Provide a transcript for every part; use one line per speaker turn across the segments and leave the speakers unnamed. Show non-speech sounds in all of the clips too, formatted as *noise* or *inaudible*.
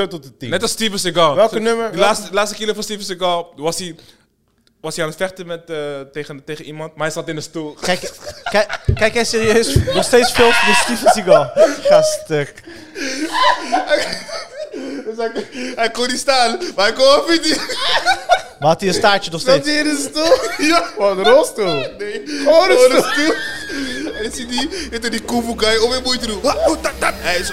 Zo tot de 10.
Net als Steven Seagal.
Welke
Zo,
nummer-
De
welke-
laatste, laatste kilo van Steven Seagal was hij, was hij aan het vechten met, eh, tegen, tegen iemand, maar hij zat in de stoel.
Kijk, kijk, kijk hij serieus nog steeds veel van Steven Seagal. eh. Gaststuk.
*laughs* Dus hij, hij kon niet staan, maar hij kon ook niet.
Maar had hij een staartje nog
Zat
steeds? Oh,
hij in een stoel? *laughs* Ja.
Gewoon een rolstoel.
Nee.
Gewoon een
Gewoon een
stoel.
stoel. En dan zie die, heeft hij die kung fu guy om weer moeite te doen. Wa- oh, tak, tak. Hij is...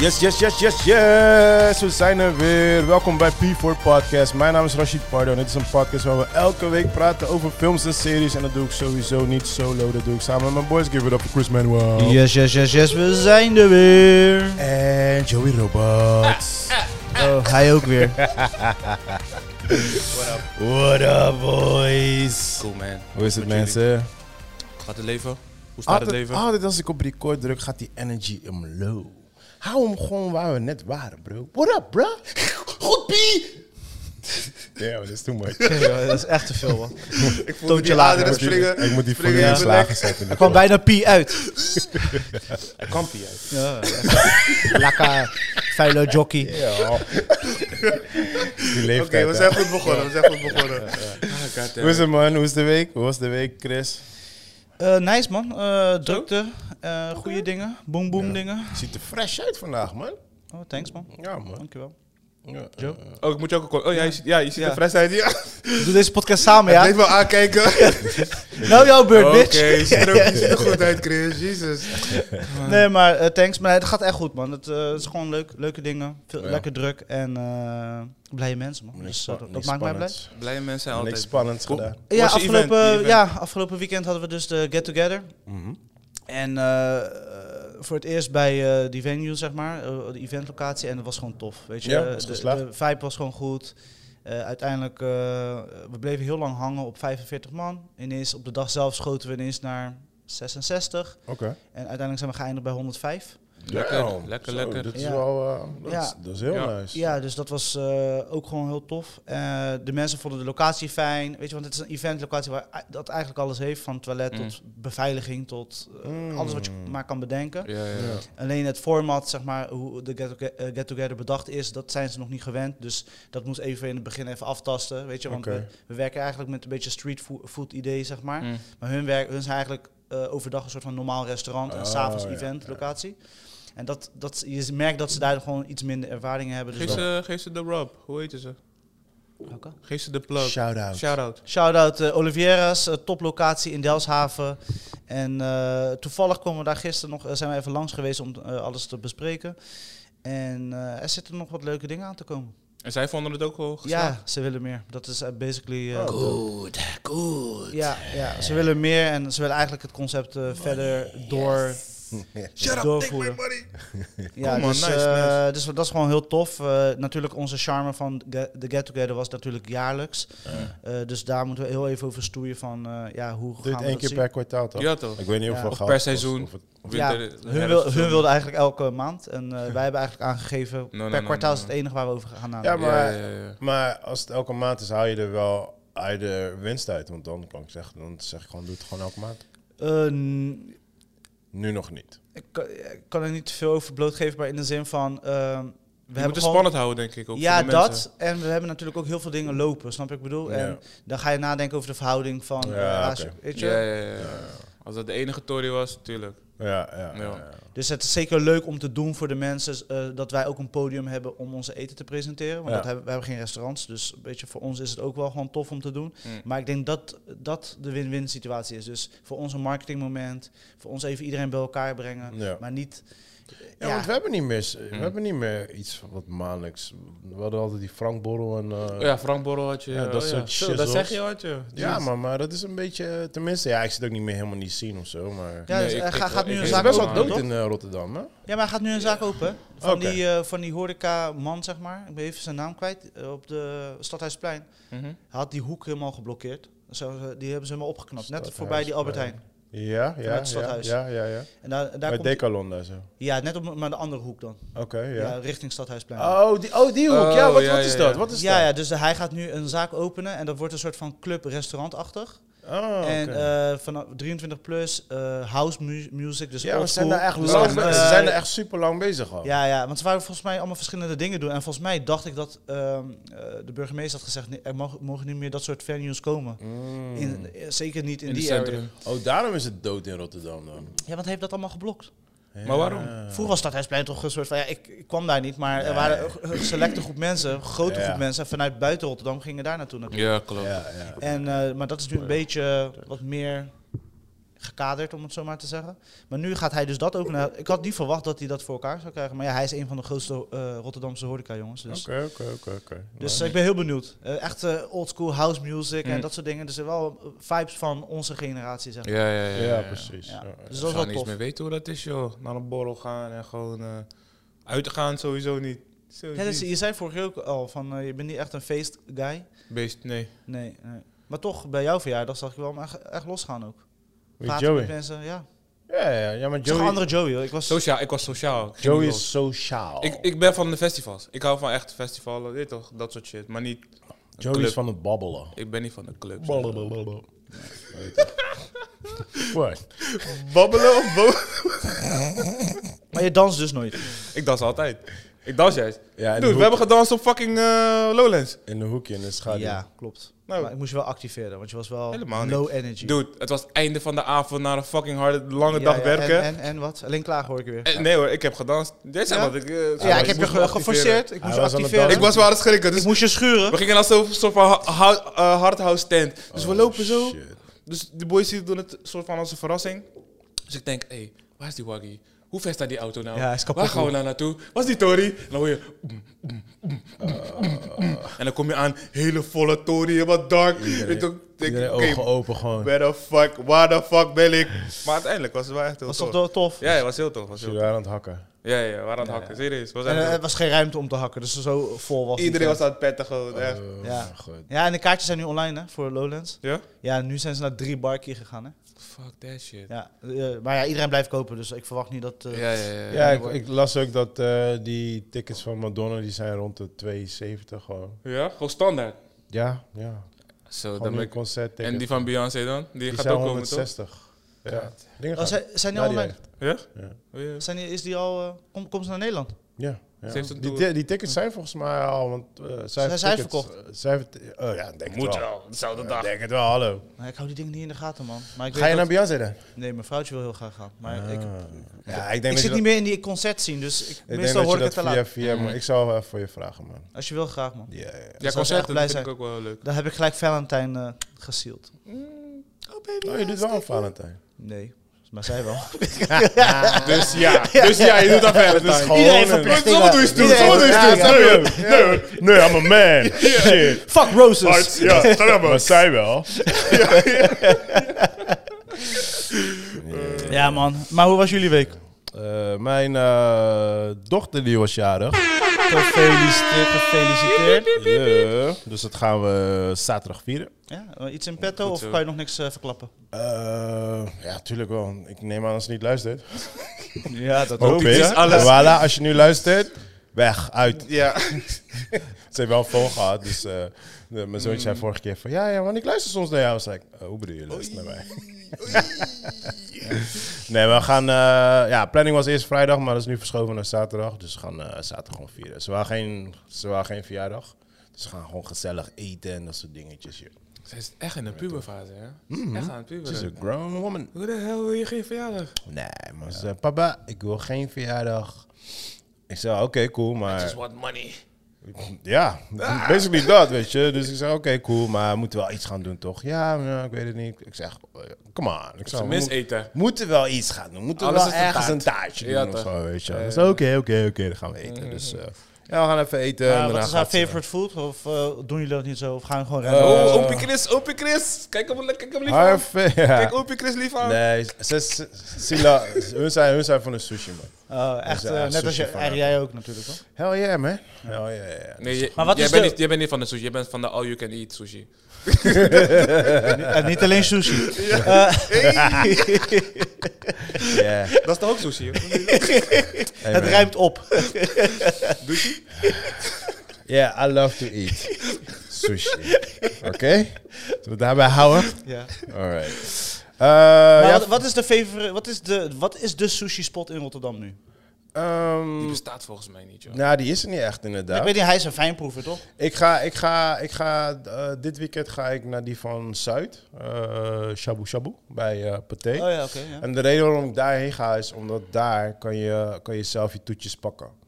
Yes, yes, yes, yes, yes. We zijn er weer. Welkom bij P4 Podcast. Mijn naam is Rashid Pardo en dit is een podcast waar we elke week praten over films en series. En dat doe ik sowieso niet solo, dat doe ik samen met mijn boys. Give it up for Chris Manuel.
Yes, yes, yes, yes, we zijn er weer.
En Joey Robots.
Ah,
Oh, hij ook *laughs* weer.
What up, boys?
Cool man.
Hoe
Met
is het,
jullie?
mensen?
Gaat het leven? Hoe staat het
Altijd,
Ah,
leven?
altijd als ik op record druk, gaat die energy omhoog. Hou hem gewoon waar we net waren, bro. What up, bro? *laughs* Goed, pie! Damn, dat is too much.
dat is echt te veel, man.
Ik voelde
Toontje
die
lager.
aderen
Ik moet die-
springen.
Ik moet die
springen
volume
in mijn
slagen
nek.
zetten.
Er kwam bijna pie uit.
Hij kan pie uit.
Ja, Lekker, vuile jockey.
*laughs*
Ja. Die
Oké,
leeftijd.
we
hè.
zijn goed begonnen, we zijn goed begonnen.
Ah,
Hoe is het, man? Hoe is de week? Hoe was de week, Chris?
Eh, nice, man. Eh, drukte, eh goede dingen, boom boom dingen.
Je ziet er fresh uit vandaag, man.
Oh, thanks, man.
Ja, man.
Dankjewel.
Ja. eh,
Oh, ik moet je ook een... Oh ja, je ziet, ja, je ziet
Ja.
de fresheid hier.
Doe deze podcast samen, ja?
Even aankijken.
Nou jouw beurt,
Oké,
bitch.
*laughs*
je ziet
Je
er ook-
ziet er goed uit, Chris. Jezus.
Nee, maar eh, thanks. Maar het gaat echt goed, man. Het eh, is gewoon leuk, leuke dingen. Veel,
Ja.
Lekker druk en eh, blije mensen, man.
niks
Dus,
spa-
eh, dat dat
niks
maakt mij blij.
spannends.
Blije mensen zijn
Niks
altijd...
spannends
Cool.
gedaan.
Ja
Was je
afgelopen,
event, je
ja, afgelopen weekend hadden we dus de Get Together.
Mhm.
En eh, eh, voor het eerst bij eh, die venue, zeg maar, eh, de eventlocatie. En dat was gewoon tof, weet je.
Ja, was
de,
geslaagd.
de vibe was gewoon goed. Eh, uiteindelijk, eh, we bleven heel lang hangen op 45 man. Ineens op de dag zelf schoten we ineens naar 66.
Oké.
En uiteindelijk zijn we geëindigd bij 105.
Lekker,
Damn.
lekker,
Zo,
lekker.
Dit is
Ja.
wel... eh, dat is-
Ja.
Dat is heel
Ja.
nice.
Ja, dus dat was eh, ook gewoon heel tof. Eh, de mensen vonden de locatie fijn. Weet je, want het is een eventlocatie waar ei- dat eigenlijk alles heeft. Van toilet
Mm.
tot beveiliging tot eh, alles wat je
Mm.
maar kan bedenken.
Ja, ja, ja.
Ja.
Alleen het format, zeg maar, hoe de get, Toge- eh, Get Together bedacht is, dat zijn ze nog niet gewend. Dus dat moest even in het begin even aftasten. Weet je, want
Oké.
we, we werken eigenlijk met een beetje street fo- food idee, zeg maar.
Mm.
Maar hun, werk, hun zijn eigenlijk eh, overdag een soort van normaal restaurant en
Oh,
s'avonds
ja,
event locatie. En dat, dat, je merkt dat ze daar gewoon iets minder ervaring hebben. Dus
Geef, ze, geef ze eh, de rub. Hoe heet ze? Geef ze de plug.
Shout-out.
Shout-out.
Shout-out eh, Olivieras, eh, toplocatie in Delshaven. En eh, toevallig komen we daar gisteren nog, eh, zijn we even langs geweest om eh, alles te bespreken. En eh, er zitten nog wat leuke dingen aan te komen.
En zij vonden het ook wel geslaagd.
Ja, ze willen meer. Dat is eh, basically... eh,
Oh. Goed, goed.
ja, ja, ze willen meer en ze willen eigenlijk het concept eh, verder door...
Shut up, take my
Doorvoeren.
money.
Ja,
Cool, man.
dus,
Nice,
eh,
nice.
dus dat is gewoon heel tof. Eh, natuurlijk, onze charme van Ge- de Get Together was natuurlijk jaarlijks. Eh, dus daar moeten we heel even over stoeien van eh, ja, hoe
Doe
gaan
het
we
één
dat
keer
zien.
per kwartaal, toch?
Ja, toch?
Ik weet niet
Ja.
hoeveel
Of
geld
per
het kost,
seizoen.
of het-
Ja,
Winter-
hun, wil,
herfstseizoen.
hun wilden eigenlijk elke maand. En eh, wij hebben eigenlijk aangegeven,
no,
per
no,
kwartaal
no,
is het enige waar we over gaan nadenken.
Ja, maar-
Ja, ja, ja.
Maar als het elke maand is, haal je er wel haal je er winst uit. Want dan kan ik zeggen, dan zeg ik gewoon, doe het gewoon elke maand.
Eh, n-
Nu nog niet.
ik, kan, ik kan er niet te veel over blootgeven, maar in de zin van... eh, we
Je moet
hebben
het
gewoon-
spannend houden, denk ik. Ook
Ja,
voor de mensen.
dat. En we hebben natuurlijk ook heel veel dingen lopen, snap je wat ik bedoel?
Ja.
En dan ga je nadenken over de verhouding van...
Ja,
eh, als
oké.
je- weet je?
Ja, ja, ja, ja. Als dat de enige Tory was, natuurlijk.
Ja, ja.
Ja.
ja, ja.
Dus het is zeker leuk om te doen voor de mensen eh, dat wij ook een podium hebben om onze eten te presenteren. Want
Ja.
dat hebben, wij hebben geen restaurants, dus een beetje voor ons is het ook wel gewoon tof om te doen.
Mm.
Maar ik denk dat dat de win-win situatie is. Dus voor ons een marketingmoment, voor ons even iedereen bij elkaar brengen.
Ja.
Maar niet...
Ja,
ja,
want we hebben niet meer, s-
Hm.
we
Hmm.
hebben niet meer iets wat maandelijks. We hadden altijd die Frank Borrel en... eh,
Oh ja, Frank Borrel had je.
Ja, dat
oh
soort
Zo,
shizzles.
Dat zeg je, had je.
ja maar, maar dat is een beetje... eh, Tenminste, ja, ik zit ook niet meer helemaal niet zien of zo, maar...
ja,
Nee,
dus,
ik-
eh,
ik
ga-
wel-
gaat
ik-
nu een
Het
ik-
is
zaak
best wel
open.
dood
toch?
in eh, Rotterdam, hè?
Ja, maar hij gaat nu een zaak open. hè? Van,
Oké.
die, eh, van die horeca-man, zeg maar. Ik ben even zijn naam kwijt. eh, op de Stadhuisplein. Hij had die hoek helemaal geblokkeerd. Zo, eh, die hebben ze helemaal opgeknapt. Net
Stadhuisplein.
voorbij die Albert Heijn.
Ja, ja,
Vanuit het
ja,
stadhuis.
ja, ja, ja.
En daar, daar
Bij
komt,
Decathlon daar zo.
ja, net op maar de andere hoek dan.
Oké,
Ja.
ja.
richting Stadhuisplein.
Oh, die, oh, die hoek.
Oh,
ja, wat,
ja,
wat is
ja,
dat?
ja.
Wat is
ja,
dat?
ja, dus hij gaat nu een zaak openen en dat wordt een soort van club-restaurantachtig.
Oh, oké.
En eh, vanaf 23 plus, eh, house mu- music, dus
ja, we
oldschool.
zijn daar echt
Dus
lang,
echt,
mee-
eh,
ze zijn er echt super lang bezig al.
Ja, ja, want ze waren volgens mij allemaal verschillende dingen doen. En volgens mij dacht ik dat ehm, eh, de burgemeester had gezegd, nee, er mag- mogen niet meer dat soort venues komen.
Mm.
In, eh, zeker niet in,
in het
die area.
centrum.
Oh, daarom is het dood in Rotterdam dan.
Ja, want hij heeft dat allemaal geblokt.
Maar waarom?
Vroeger was Stadhuisplein toch een soort van, ja, ik, ik kwam daar niet, maar er waren een- een selecte groep mensen, een grote
Ja.
groep mensen. En vanuit buiten Rotterdam gingen daar naartoe natuurlijk.
Ja, klopt.
Ja, ja.
En, eh, maar dat is nu een beetje wat meer gekaderd, om het zo maar te zeggen. Maar nu gaat hij dus dat ook naar... Ik had niet verwacht dat hij dat voor elkaar zou krijgen. Maar ja, hij is een van de grootste eh, Rotterdamse horeca-jongens. Dus,
Oké, oké, oké, oké.
dus eh, ik ben heel benieuwd. Eh, echt eh, oldschool house music en dat soort dingen. Dus er wel eh, vibes van onze generatie, zeg maar.
Ja, ja, ja.
Ja,
ja.
precies.
eh, Ja.
Ja.
Dus
Ik
dat is
zou
wel
niet eens
tof.
meer weten hoe dat is, joh. Naar een borrel gaan en gewoon eh uit te gaan sowieso niet. Sowieso
Ja, dus
niet.
je zei vorig jaar ook al van, eh, je bent niet echt een feestguy.
Beest, nee.
Nee, nee. Maar toch, bij jouw verjaardag zag ik wel hem echt, echt losgaan ook.
Met
Praten met
Joey.
mensen, ja.
Ja, ja, ja, maar
Ik zag een
Joey,
andere Joey, hoor. Ik was...
Sociaal, ik was sociaal. Ik ging
Joey
niet los.
is sociaal.
Ik, ik ben van de festivals. Ik hou van echt festivalen, weet toch, dat soort shit. Maar niet,
Joey
club.
is van het babbelen.
ik ben niet van de clubs.
Blablabla. *laughs* Wat?
Babbelen of bo-
Maar je danst dus nooit.
Ik dans altijd. Ik dans juist.
Ja,
Dude,
in de,
we
hoek,
hebben gedanst op fucking eh, Lowlands.
in de hoekje in de schaduw.
Ja, klopt.
Nou.
maar ik moest je wel activeren, want je was wel
Helemaal niet.
low energy.
Dude, het was het einde van de avond na een fucking harde, lange
Ja,
dag
ja,
werken.
En, en, en wat? Alleen klagen hoor ik weer.
Eh, nee hoor, ik heb gedanst. Jij zei
Ja?
wat ik... eh, zei
ja,
wat,
ik heb je
moest
ge-
me activeren.
geforceerd. Ik
Hij
moest je
was aan het
activeren.
Ik
Ik,
was wel aan het schrikken, dus
moest je
we
schuren.
gingen als zo'n soort van hou- hou- eh, hardhouse stand. Dus we
Oh,
lopen zo.
shit.
Dus de boys die doen het soort van als een verrassing. Dus ik denk, hé, hey, waar is die waggy? Hoe ver staat die auto nou?
Ja, hij is kapot,
waar gaan we
hoor.
nou naartoe? Waar is die Tory? En dan hoor je... mm, mm, mm, mm, mm. En dan kom je aan, hele volle Tory, helemaal dark. ik dacht, denk,
Iedereen oh.
oké,
ogen open gewoon.
where the fuck, waar de fuck ben ik? Maar uiteindelijk was het wel echt heel
was
tof.
toch wel tof?
Ja, ja, was heel tof. Was
Ze
heel
waren aan het hakken.
tof. Ja, ja, we waren aan het hakken. Serieus. Was
En
echt
eh,
heel-
er was geen ruimte om te hakken, dus zo vol was het
Iedereen
niet.
was aan het petten gewoon, echt.
Oh,
Ja.
mijn god.
Ja, en de kaartjes zijn nu online hè, voor Lowlands.
Ja?
Ja, nu zijn ze naar drie barkie gegaan hè.
Fuck that shit.
Ja, eh, maar ja, iedereen blijft kopen, dus ik verwacht niet dat... eh,
Ja, ja, ja.
Ja, ik, ik las ook dat eh, die tickets van Madonna die zijn rond de 270 gewoon.
Ja, gewoon standaard.
Ja, ja.
Zo, dan
Gewoon
ben
een
ik...
concert
En die van Beyoncé dan? Die, gaat
zijn
ook komen, toch?
160. Ja. Dingen
Oh,
gaan.
zijn, zijn die
Ja,
al
die
online?
Ja?
Ja.
Oh, ja.
Zijn die, is die al... eh, kom, komt ze naar Nederland?
Ja. ja.
Ze heeft een
Die,
tour.
ti- die tickets zijn volgens mij al, want eh, zij heeft
Zijn zij
tickets-
verkocht?
Zij heeft, oh ja, ik denk
Moet
het wel.
wel, dezelfde
Ik
dag.
denk het wel, hallo.
Nou, ik hou die dingen niet in de gaten, man. Maar ik
Ga
weet
je naar
dat-
Beyoncé dan? Ah.
Nee, mijn vrouwtje wil heel graag gaan. Maar ik,
ja, ik denk
ik
dat je
zit
dat-
niet meer in die concert zien, dus ik,
ik denk
meestal
dat
hoor
je
ik
dat
het te
via
laat.
via, maar ik zou wel even voor je vragen, man.
Als je wil, graag man.
Ja, ja, ja.
Ja,
zou ze echt
concerten,
blij
dat vind
zijn.
ik ook wel heel leuk.
Dan heb ik gelijk Valentijn eh gesield.
Oh, je doet wel een Valentijn.
Nee, maar zij wel.
Oh,
Dus ja, dus ja, je doet dat verder. Dus gewoon... dus
Iedereen
Maar
verplicht.
Zo doe je stoer,
Iedereen
zo doe je
verplicht.
stoer. Nee, hoor.
Nee, I'm a man. Shit.
Fuck roses!
Ja, maar zij wel.
Ja man, maar hoe was jullie week?
Eh, mijn eh, dochter die was jarig.
Gefeliciteerd, gefeliciteerd.
Ja, dus dat gaan we zaterdag vieren.
Ja, eh, iets in petto of
zo.
kan je nog niks eh, verklappen?
Eh, ja, tuurlijk wel. Ik neem aan als ze niet luistert.
Ja, dat
Hoop ik.
is alles.
Voilà, als je nu luistert, weg, uit.
Ja,
*laughs* Ze heeft wel een phone gehad, dus eh, de- mijn zoontje zei vorige keer van... Ja, ja, want ik luister soms naar jou. Zei ik, "Eh, hoe bedoel je luisteren naar mij? *laughs* nee, we gaan... eh, ja, planning was eerst vrijdag, maar dat is nu verschoven naar zaterdag. Dus we gaan eh, zaterdag gewoon vieren. Ze waren geen, ze waren geen verjaardag. Dus we gaan gewoon gezellig eten en dat soort dingetjes. Joh.
ze is echt in de puberfase, hè? Ze is Echt aan het
Ze is
puberen.
een grown woman.
Hoe de hel wil je geen verjaardag?
Nee, maar ze zei, papa, ik wil geen verjaardag. Ik zei, oké, cool, maar...
Just want money.
Ja, basically dat, weet je. Dus ik zei, oké, cool, maar we moeten wel iets gaan doen, toch? Ja, nou, ik weet het niet. Ik zeg, eh, come on. Ik zeg,
Ze
we
mis
moet-
eten.
moeten wel iets gaan doen. Moeten we
Alles
wel
is een
ergens
taart.
een taartje
Ja,
doen of
toch.
zo, weet je. Dus oké, oké, oké, dan gaan we eten. Dus eh, Ja, we gaan even eten. en
Maar
daarna
wat is
gaat
haar
ze-
favorite food? Of eh, doen jullie dat niet zo? Of gaan we gewoon
Eh,
Oh,
rennen?
opie Chris, opie Chris. Kijk hem, kijk hem lief
Haar
aan.
fa- *laughs* ja.
Kijk opie Chris lief aan.
Nee, ze, ze- Sila, hun zijn, hun zijn van de sushi, man.
Eh, echt,
Ja,
eh, net
sushi
als je,
van
eigenlijk jij ook natuurlijk. *laughs* Hoor.
Hell yeah, man. Hell yeah,
*laughs*
yeah.
Nee, je-
Maar wat
jij,
is
bent
de-
niet, jij bent niet van de sushi, jij bent van de all-you-can-eat sushi.
En niet alleen sushi. Eh,
Yeah.
Dat is toch ook sushi?
Hey,
Het
man.
ruimt op.
Yeah, I love to eat. Sushi. Oké? Zullen we het daarbij houden?
ja.
Alright. Eh,
Maar
ja,
wat, wat is de favorite, wat is de, wat is de sushi spot in Rotterdam nu?
Die *laughs*
ehm,
bestaat volgens mij niet, joh.
nou, die is er niet echt inderdaad.
Ik weet niet, hij is een fijnproever toch?
Ik ga, ik ga, ik ga, eh, dit weekend ga ik naar die van Zuid, eh Shabu Shabu, bij eh Pathé.
Oh ja, oké. ja.
En de reden waarom ik daarheen ga is omdat daar kan je, kan je zelf je toetjes pakken.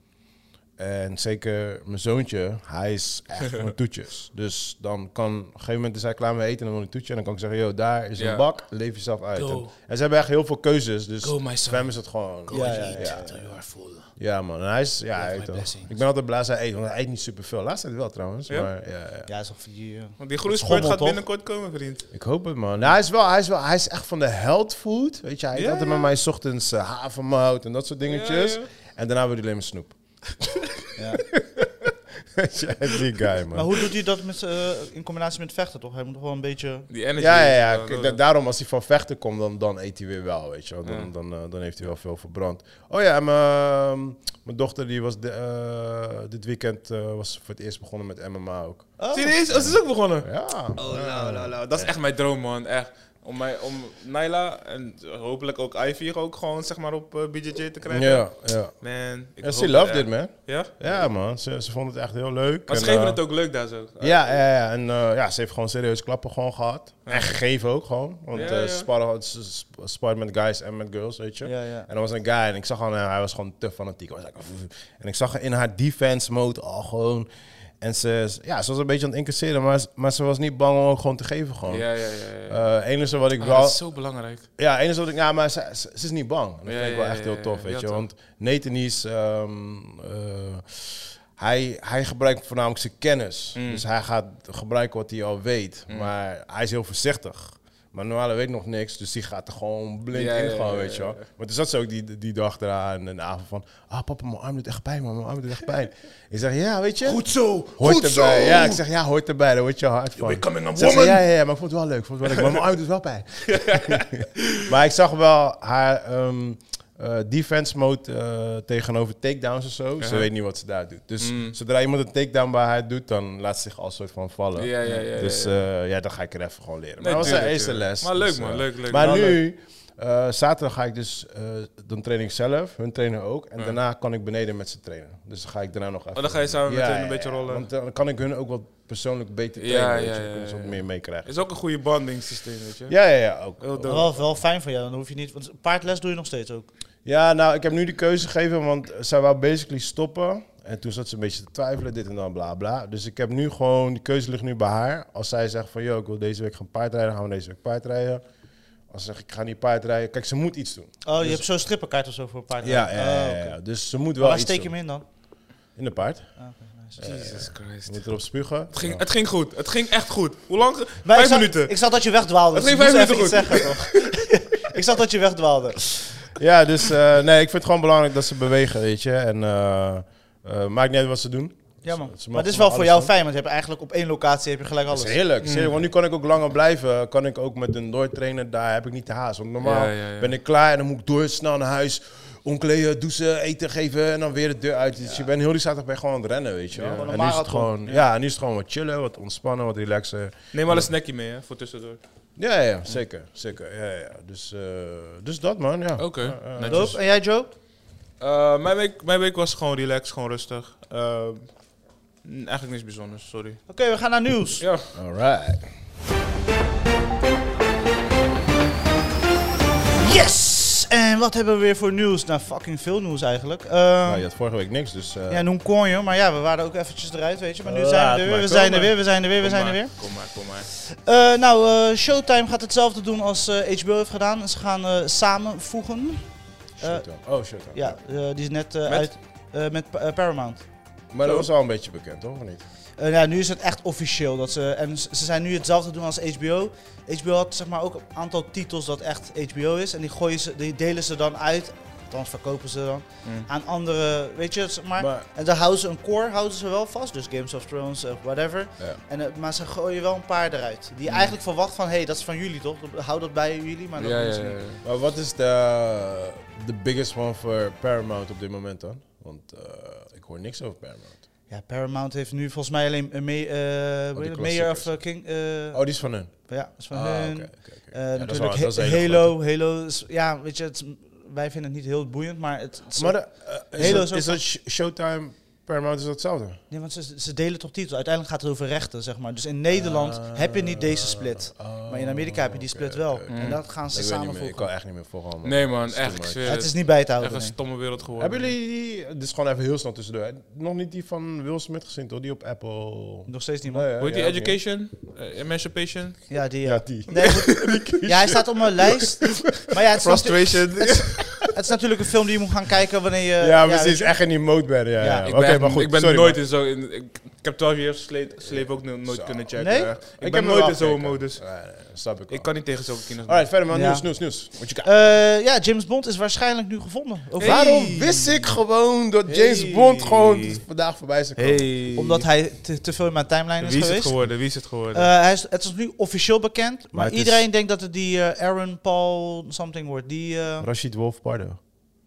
En zeker mijn zoontje, hij is echt van de toetjes. Dus dan kan, op een gegeven moment is hij klaar met eten en dan wil hij een toetje. En dan kan ik zeggen, yo, daar is
Ja.
een bak, leef jezelf uit.
Go.
En, en ze hebben echt heel veel keuzes, dus
Go, my son.
voor hem is het gewoon...
Ja,
ja,
ja,
ja, ja.
You are full.
Ja, man, en hij is... Ja,
my
hij eet wel.
blessings.
ik ben altijd blij dat hij eet, want hij eet niet superveel. Laatst tijd wel trouwens,
Ja?
maar ja, ja.
Ja, is toch van die... eh,
Want die groene
Dat
sport
schommelt,
gaat
toch?
binnenkort komen, vriend.
Ik hoop het, man. Nou, hij, is wel, hij, is wel, hij is echt van de health food. Weet je, hij eet
Ja,
altijd
ja.
met mij 's ochtends eh, havermout en dat soort dingetjes.
Ja, ja.
En daarna wil hij alleen maar
*laughs*
snoep.
Ja.
Weet je, die guy, man.
Maar
*laughs*
hoe doet hij dat met, eh, in combinatie met vechten toch? Hij moet toch wel een beetje...
Die energy.
ja, ja, ja.
Eh,
Kijk, da- daarom als hij van vechten komt, dan, dan eet hij weer wel, weet je wel. Dan, dan, eh, dan heeft hij wel veel verbrand. Oh ja, en mijn, mijn dochter die was de, eh, dit weekend eh, was voor het eerst begonnen met MMA ook.
Serieus? Oh, ze is ook begonnen.
Ja.
Oh, nou, nou, nou. Dat is echt mijn droom, man. Echt. Om, mij, om Naila en hopelijk ook Ivy ook gewoon zeg maar, op eh, BJJ te krijgen.
Ja, ja.
Man, ik
Ja,
hoop
she loved
het
it, man.
echt. Ja?
Ja, man. Ze, ze vond het echt heel leuk.
Maar
En,
ze geven
eh,
het ook leuk daar zo.
Ja, ja, ja. En eh, ja, ze heeft gewoon serieus klappen gewoon gehad. En gegeven ook gewoon. Want
Ja,
eh
ja.
ze sparren- ze sp- sparren met guys en met girls, weet je.
Ja, ja.
En er was een guy en ik zag gewoon, eh, hij was gewoon te fanatiek. Hij was like, "Vuh." en ik zag haar in haar defense mode al gewoon. En ze, ja, ze was een beetje aan het incasseren, maar, ze- maar ze was niet bang om ook gewoon te geven gewoon.
Ja, ja, ja. ja, ja.
Eh, enige wat ik
Ah,
wel...
dat is zo belangrijk.
Ja, enige wat ik... Ja, maar ze, ze, ze is niet bang. Dat
Ja,
vind ik
ja,
wel
ja,
echt heel
ja,
tof,
ja,
weet
ja,
je.
toch.
Want Nathan is... ehm, eh, hij, hij gebruikt voornamelijk zijn kennis.
Mm.
Dus hij gaat gebruiken wat hij al weet. Maar hij is heel voorzichtig. Maar Noale weet nog niks, dus die gaat er gewoon blind
Ja,
in
ja,
gaan,
ja,
weet je wel.
ja,
Maar toen zat ze ook die, die dag eraan en de avond van... Ah, papa, mijn arm doet echt pijn, man. Mijn arm doet echt pijn. ik zeg, ja, weet je.
Goed zo.
Hoort
goed zo.
erbij. Ja, ik zeg, ja, hoort erbij. Daar word je hard van.
becoming a
Zegt ze,
woman.
ja, ja, ja, maar ik vond het wel leuk. Ik Vond het wel leuk maar mijn arm doet wel pijn. *laughs* maar ik zag wel haar ehm, eh, defense mode eh, tegenover takedowns en zo. Ze weet niet wat ze daar doet. Dus
Mm.
zodra iemand een takedown bij haar doet, dan laat ze zich al soort van vallen.
Ja, ja, ja,
dus
ja,
eh, ja, dan ga ik er even gewoon leren.
Nee,
maar dat was haar
tuurlijk,
eerste
tuurlijk.
les.
Maar leuk,
Dus,
man.
eh,
Leuk, Nou, leuk.
Maar
Wel
nu, eh, zaterdag ga ik dus, eh, dan train ik zelf, hun trainen ook. En daarna kan ik beneden met ze trainen. Dus dan ga ik daarna nog even...
Oh, dan ga je samen met hun een beetje rollen.
Want dan kan ik hun ook wat persoonlijk beter
Ja,
trainen. Ja,
ja,
ja,
ja,
Kunnen ze wat
ja.
meer meekrijgen.
is ook een goede bonding systeem, weet je.
Ja, Oh. ja, ja, ook.
Heel dope.
Wel, wel fijn voor jou, dan hoef je niet... Want paardles doe je nog steeds ook.
Ja, nou, ik heb nu de keuze gegeven, want zij wou basically stoppen. En toen zat ze een beetje te twijfelen, dit en dan, bla, bla. Dus ik heb nu gewoon, de keuze ligt nu bij haar. Als zij zegt van, yo, ik wil deze week gaan paardrijden, gaan we deze week paardrijden. Als ze zegt, ik ga niet paardrijden. Kijk, ze moet iets doen.
Oh, je hebt zo'n strippenkaart of zo voor paardles.
Dus- Ja, ja, ja,
Oh,
ja,
oké.
ja. Dus ze moet wel
Maar waar
iets
steek je
doen.
hem in dan?
In de paard.
Jesus Christ.
Ze moet erop spugen.
Het ging, het ging goed. Het ging echt goed. Hoe lang? ge-
Maar
Vijf
ik zag,
minuten.
Ik zag dat je wegdwaalde.
Het
dus
ging
ik
vijf
moest
minuten
even iets zeggen,
*laughs*
toch? ik zag dat je wegdwaalde.
Ja, dus eh, nee, ik vind het gewoon belangrijk dat ze bewegen, weet je. En eh, eh, maakt niet uit wat ze doen.
Ja, man.
Ze- ze
Maar dit
mogen
is wel
alles
voor jou
doen.
fijn, want je hebt eigenlijk op één locatie heb je gelijk
Dat
alles.
is heerlijk, is heerlijk, Want nu kan ik ook langer blijven. Kan ik ook met een doortrainer, daar heb ik niet te haast. Want normaal
Ja, ja, ja.
ben ik klaar en dan moet ik door snel naar huis. Omkleden, douchen, eten geven en dan weer de deur uit. Dus je bent heel die zaterdag ben je gewoon aan het rennen, weet je wel.
gewoon een
en nu is het
marathon.
gewoon, ja, en nu is het gewoon wat chillen, wat ontspannen, wat relaxen.
Neem maar een snackie mee, hè, voor tussendoor.
Ja, ja, ja, zeker, zeker. Ja, ja. Dus, eh, dus dat man, ja.
Oké.
Doop. En jij, Joe?
Eh, mijn, week, mijn week was gewoon relaxed, gewoon rustig. Eh, n- eigenlijk niks bijzonders, sorry.
Oké, we gaan naar nieuws.
Ja.
Alright.
Yes! En wat hebben we weer voor nieuws? Nou, fucking veel nieuws eigenlijk. Ehm,
Nou, je had vorige week niks, dus... eh,
ja, noem kon je, maar ja, we waren ook eventjes eruit, weet je. Maar nu
Laat
zijn we er
maar
weer, we zijn er
komen.
weer, we zijn er weer, we
Kom
zijn er
maar,
weer.
Kom maar, kom maar.
Eh, nou, eh, Showtime gaat hetzelfde doen als eh, HBO heeft gedaan. Ze gaan eh, samenvoegen.
shut up. oh, shut up.
Ja, eh, die is net eh,
Met?
uit eh, met Pa- eh, Paramount.
Maar dat was al een beetje bekend, toch? Of niet?
Eh, ja, nu is het echt officieel. Dat ze, en ze ze zijn nu hetzelfde doen als HBO. HBO had zeg maar ook een aantal titels dat echt HBO is. En die, gooien ze, die delen ze dan uit, althans verkopen ze dan, aan andere, weet je, zeg maar.
Maar-
En daar houden ze een core houden ze wel vast, dus Games of Thrones, eh, whatever.
Ja. Hmm.
En, eh, maar ze gooien wel een paar eruit. Die eigenlijk verwacht van, hé, hey, dat is van jullie toch? Hou dat bij jullie, maar dat
Ja,
doen
ja,
ze
ja,
niet.
ja.
Maar wat is de, de biggest one voor Paramount op dit moment dan? Want eh, ik hoor niks over Paramount.
Ja, Paramount heeft nu volgens mij alleen eh, mee, eh, hoe heet het? Mayor of eh, King... eh,
Oh, die is van hun.
Ja, dat is van
Ah,
hun.
oké, oké, oké.
Eh,
Ja, dat is wel-
natuurlijk
dat is een hele
Halo. Halo is, ja, weet je, het, is- wij vinden het niet heel boeiend, maar het... het is-
Maar de, eh, is,
Halo
dat,
is ook
is dat Sh- Showtime, Paramount is dat hetzelfde?
nee, want ze, ze delen toch titels. Uiteindelijk gaat het over rechten, zeg maar. Dus in Nederland
Ah.
heb je niet deze split. maar in Amerika heb je die split wel. En dat gaan ze
oh, Ik, weet niet meer, ik
samenvoegen.
kan echt niet meer volgen. man.
Nee man,
is too
echt. ik
much.
zweer
Het
het.
is niet bij te
echt
houden.
een
nee.
stomme wereld geworden.
Hebben jullie die, dit is gewoon even heel snel tussendoor. hè? Nog niet die van Will Smith gezien, toch? Die op Apple.
Nog steeds niet, man.
Nee, hè?
Hoe heet die?
Ja, ook niet.
Education? Eh, emancipation?
Ja, die...
Ja,
Ja, *laughs*
die. *laughs*
Nee, goed. ja, hij staat op mijn lijst. Maar ja, het is, natu-
Frustration.
het is natuurlijk een film die je moet gaan kijken wanneer je...
Ja,
weet
precies.
je-
Echt in die mode ben. Ja, ja.
Ik
Ik
Oké,
ben,
maar goed.
ik ben
sorry,
nooit
man.
in zo. In, ik, ik heb 12 jaar sleep, sleep ook no- nooit
Zo.
kunnen checken.
Nee?
eh.
Ik
Ik, ben
heb hem
nooit
wel
in zo'n
gekeken.
modus.
Ja, ja, ja, snap dus- ik wel.
Ik kan niet tegen zo'n kinderen.
Alright, verder man.
Ja.
Nieuws, nieuws, nieuws. Wat je kan-
Eh, ja, James Bond is waarschijnlijk nu gevonden. Over-
Waarom wist ik gewoon dat James
Hey.
Bond gewoon vandaag voorbij zou komen?
Hey.
Omdat hij te, te veel in mijn timeline is
Wie is het
geweest.
geworden? Wie is het geworden?
Eh, hij is, het is nu officieel bekend, maar,
het is-
iedereen denkt dat het die eh, Aaron Paul something wordt. Die eh,
Rashid Wolf Pardo.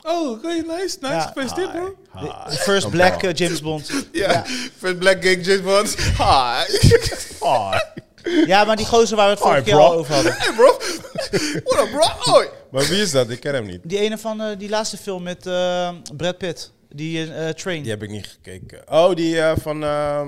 oh, oké, nice. Nice.
Ja.
Gefeliciteerd, bro.
de first black eh, James Bond.
Ja, Fat Black Gang James Bond.
*laughs*
Hi.
Ah.
ja, maar die gozer waar we het
Alright,
vorige keer
bro.
al over hadden.
Hey bro. What up bro? Oi.
Maar wie is dat? Ik ken hem niet.
Die ene van eh, die laatste film met eh, Brad Pitt, die eh, Train.
Die heb ik niet gekeken. Oh, die eh, van... ehm,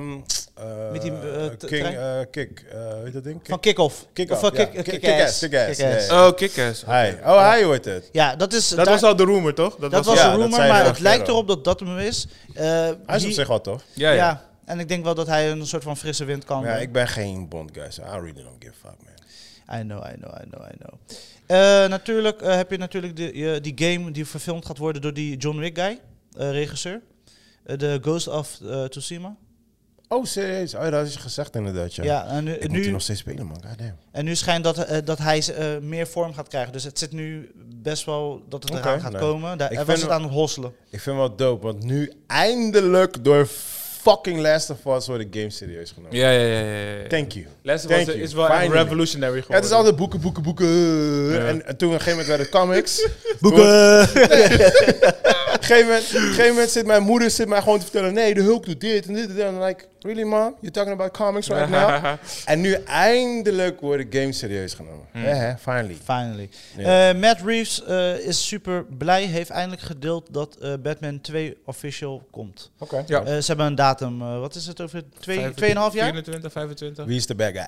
eh,
Met die, eh, t-
King,
trein?
eh, Kick. eh, hoe heet dat ding?
Van Kick-Off.
Kick
of
Off,
eh,
ja.
kick,
Kick-
kick,
Kick-Ass,
ass.
Kick-Ass,
Kick
ja,
Ass.
ja.
Oh, kickass.
Hi. Oh, hi hoort het.
Ja, dat is.
Dat
daar-
was al de rumor, toch? Dat,
dat
was
was
Ja,
een
dat
rumor,
zei je
maar
vorige
het lijkt
keer al.
erop dat dat hem is. Eh,
Hij is op
die-
zich wat, toch?
Ja, ja.
ja, en ik denk wel dat hij een soort van frisse wind kan.
Ja,
eh,
ik ben geen Bond, guys. I really don't give a fuck, man.
I know, I know, I know, I know. Eh, natuurlijk eh, heb je natuurlijk de, eh, die game die verfilmd gaat worden door die John Wick guy, eh, regisseur. Eh, De Ghost of eh, Tsushima.
Oh, serieus? Oh, dat is gezegd inderdaad, ja.
Ja, en, nu,
Ik moet die
nu,
nog steeds spelen, man. Goddamn.
en nu schijnt dat, eh, dat hij eh, meer vorm gaat krijgen. Dus het zit nu best wel dat het
Oké,
eraan gaat
nee.
komen. Daar,
Ik
hij
vind
was het
wel-
aan het hosselen.
Ik vind het wel dope, want nu eindelijk door fucking Last of Us wordt de game serieus genomen.
Ja, ja, ja, ja, ja.
Thank you.
Last of Us
Thank you.
is wel echt
Finally.
revolutionary geworden.
Ja, het is altijd boeken, boeken, boeken. En, en toen op een gegeven moment werden het
*laughs*
comics. *laughs* Toen- Op een gegeven moment- op een gegeven moment zit mijn moeder zit mij gewoon te vertellen... nee, de Hulk doet dit en dit en dat. En I'm like, really mom? You're talking about comics right
*laughs*
*laughs*
now? en nu eindelijk worden games serieus genomen.
Hmm.
Ja, hè, finally.
Finally.
Ja.
Eh, Matt Reeves eh, is super blij. Heeft eindelijk gedeeld dat eh, Batman 2 official komt.
Oké.
Ja.
Eh, ze hebben een datum. eh, wat is het over twee, 2,5 jaar?
24, 25.
Wie is de bad guy?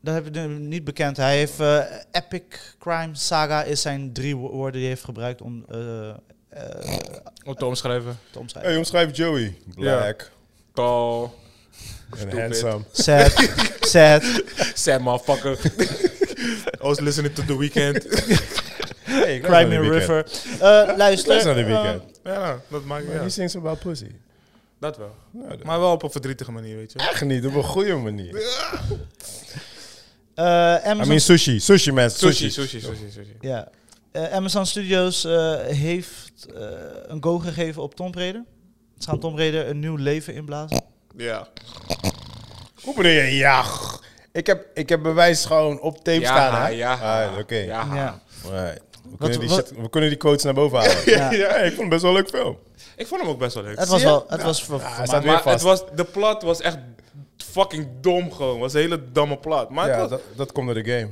Dat heb ik nu niet bekend. Hij heeft eh, Epic Crime Saga is zijn drie wo- woorden die hij heeft gebruikt om eh, eh,
Om te omschrijven.
te omschrijven.
Hey, omschrijf Joey. Black.
Tall.
En
Stupid.
handsome. *laughs*
Sad, sad.
Sad motherfucker. I was listening to The Weeknd.
Hey, ik luister
Crime
naar
in
The Weeknd.
River. Eh,
Dat is
luister.
naar de
eh,
weekend.
ja, dat maakt
He
ja.
sings about pussy.
Dat wel.
Nou, dat-
Maar wel op een verdrietige manier, weet je. wel.
Echt niet, op een goede manier.
eh, Amazon,
I mean sushi, sushi mensen,
Sushi,
sushi.
sushi, sushi, sushi.
ja. Eh, Amazon Studios eh, heeft eh, een go gegeven op Tomb Raider. Ze gaan Tomb Raider een nieuw leven inblazen.
Ja.
Hoe bedoel je? Ja. g- Ik heb, ik heb bewijs gewoon op tape
Ja,
staan, hè?
ja.
Alright, Oké.
Ja.
Ja.
Alright. We, kunnen die
wat-
shit- we kunnen die quotes naar boven halen.
Ja.
*laughs* ja. ik vond het best wel een leuk film.
Ik vond hem ook best wel leuk.
Het was
Zie je?
wel, het was voor, voor
hij
mij.
staat weer
Maar het
vast.
was, de plot was echt fucking dom gewoon. Het was een hele domme plot. Maar het
ja,
was-
dat, dat komt door de game.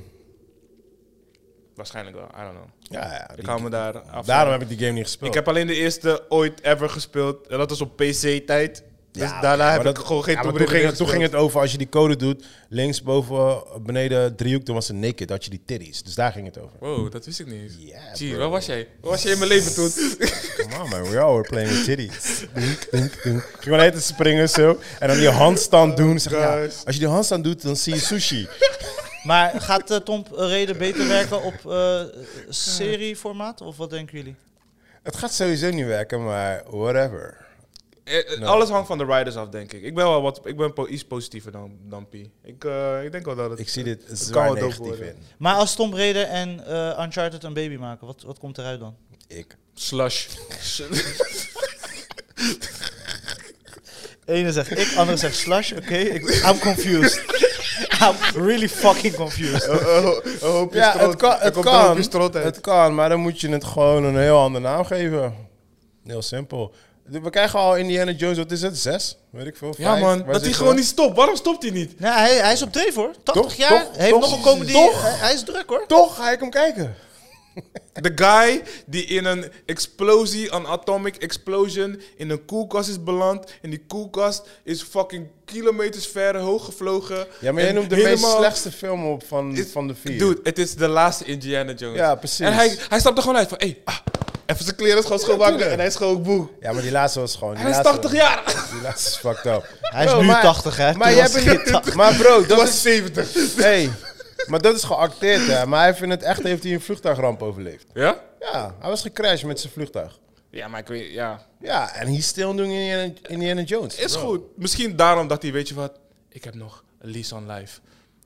waarschijnlijk wel, I don't know.
Ja, ja. die-
Ik hou me daar af.
daarom heb ik die game niet gespeeld.
Ik heb alleen de eerste ooit ever gespeeld. En dat was op PC-tijd. Dus daarna
maar
heb
dat-
ik gewoon geen
ja, maar
Tomb
toen,
Raider
ging, het- toen
gespeeld.
ging het over, als je die code doet, links boven, eh, beneden, driehoek, toen was het naked, had je die titties. Dus daar ging het over.
Wow, dat wist ik niet. eens.
Ja,
Zie,
bro.
waar was jij? Waar was jij in mijn leven toen? *laughs*
Come on, man. We all were playing with titties. Dunk, dunk, dunk. Gewoon eten springen zo. En dan die
Oh,
handstand doen. Zeg, ja,
Guys.
als je die handstand doet, dan zie je sushi.
Maar gaat eh, Tomb Raider beter werken op eh, serie serieformaat? Of wat denken jullie?
Het gaat sowieso niet werken, maar whatever.
eh, eh,
Nee.
Alles hangt van de riders af, denk ik. Ik ben wel wat, ik ben po- iets positiever dan, dan P. Ik, eh, ik denk wel dat het.
Ik zie dit
kan
zwaar
het ook
negatief
worden.
in.
Maar als Tom Brady en eh, Uncharted een baby maken, wat, wat komt eruit dan?
Ik.
Slash.
Ene zegt ik, andere zegt slash. Oké, *laughs* ik- I'm confused. *laughs* I'm really fucking confused.
Ja, het kan, het, kan, het
Het,
kan, maar dan moet je het gewoon een heel andere naam geven. Heel simpel. We krijgen al Indiana Jones, wat is het? Zes? Weet ik veel.
ja,
vijf?
man. Dat
Waar zit
hij
je?
gewoon niet stopt. Waarom stopt hij niet?
Nou, hij, hij is op dreef hoor. 80
Toch,
jaar,
toch,
hij heeft
toch.
nog een komende...
Toch.
Hij, hij is druk hoor.
Toch ga ik hem kijken.
De guy die in een explosie, een atomic explosion, in een koelkast is beland. En die koelkast is fucking kilometers ver hoog gevlogen.
Ja, maar
En
jij noemt de meest
helemaal-
slechtste film op van,
Dit-
van de vier.
Dude, het is de laatste Indiana Jones.
Ja, precies.
En hij, hij stapt er gewoon uit van, hé, hey, ah, even zijn kleren schoon schoonmaken. en hij is gewoon boe.
Ja, maar die laatste was gewoon... Die
Hij is
laatste-
80 jaar.
Die laatste is fucked up.
Hij is
Bro,
nu
maar-
80 hè.
Maar,
Toen
jij
was
bent
hij
niet- maar bro, dat is...
70.
Hey, maar dat is geacteerd, hè. Maar hij heeft in het echt heeft hij een vliegtuigramp overleefd.
Ja?
Ja, hij was gecrashed met zijn vliegtuig.
Ja, maar ik weet, ja.
Ja, en he's still doing Indiana, Indiana Jones.
Is goed. Misschien daarom dat hij, weet je wat, ik heb nog een lease on life.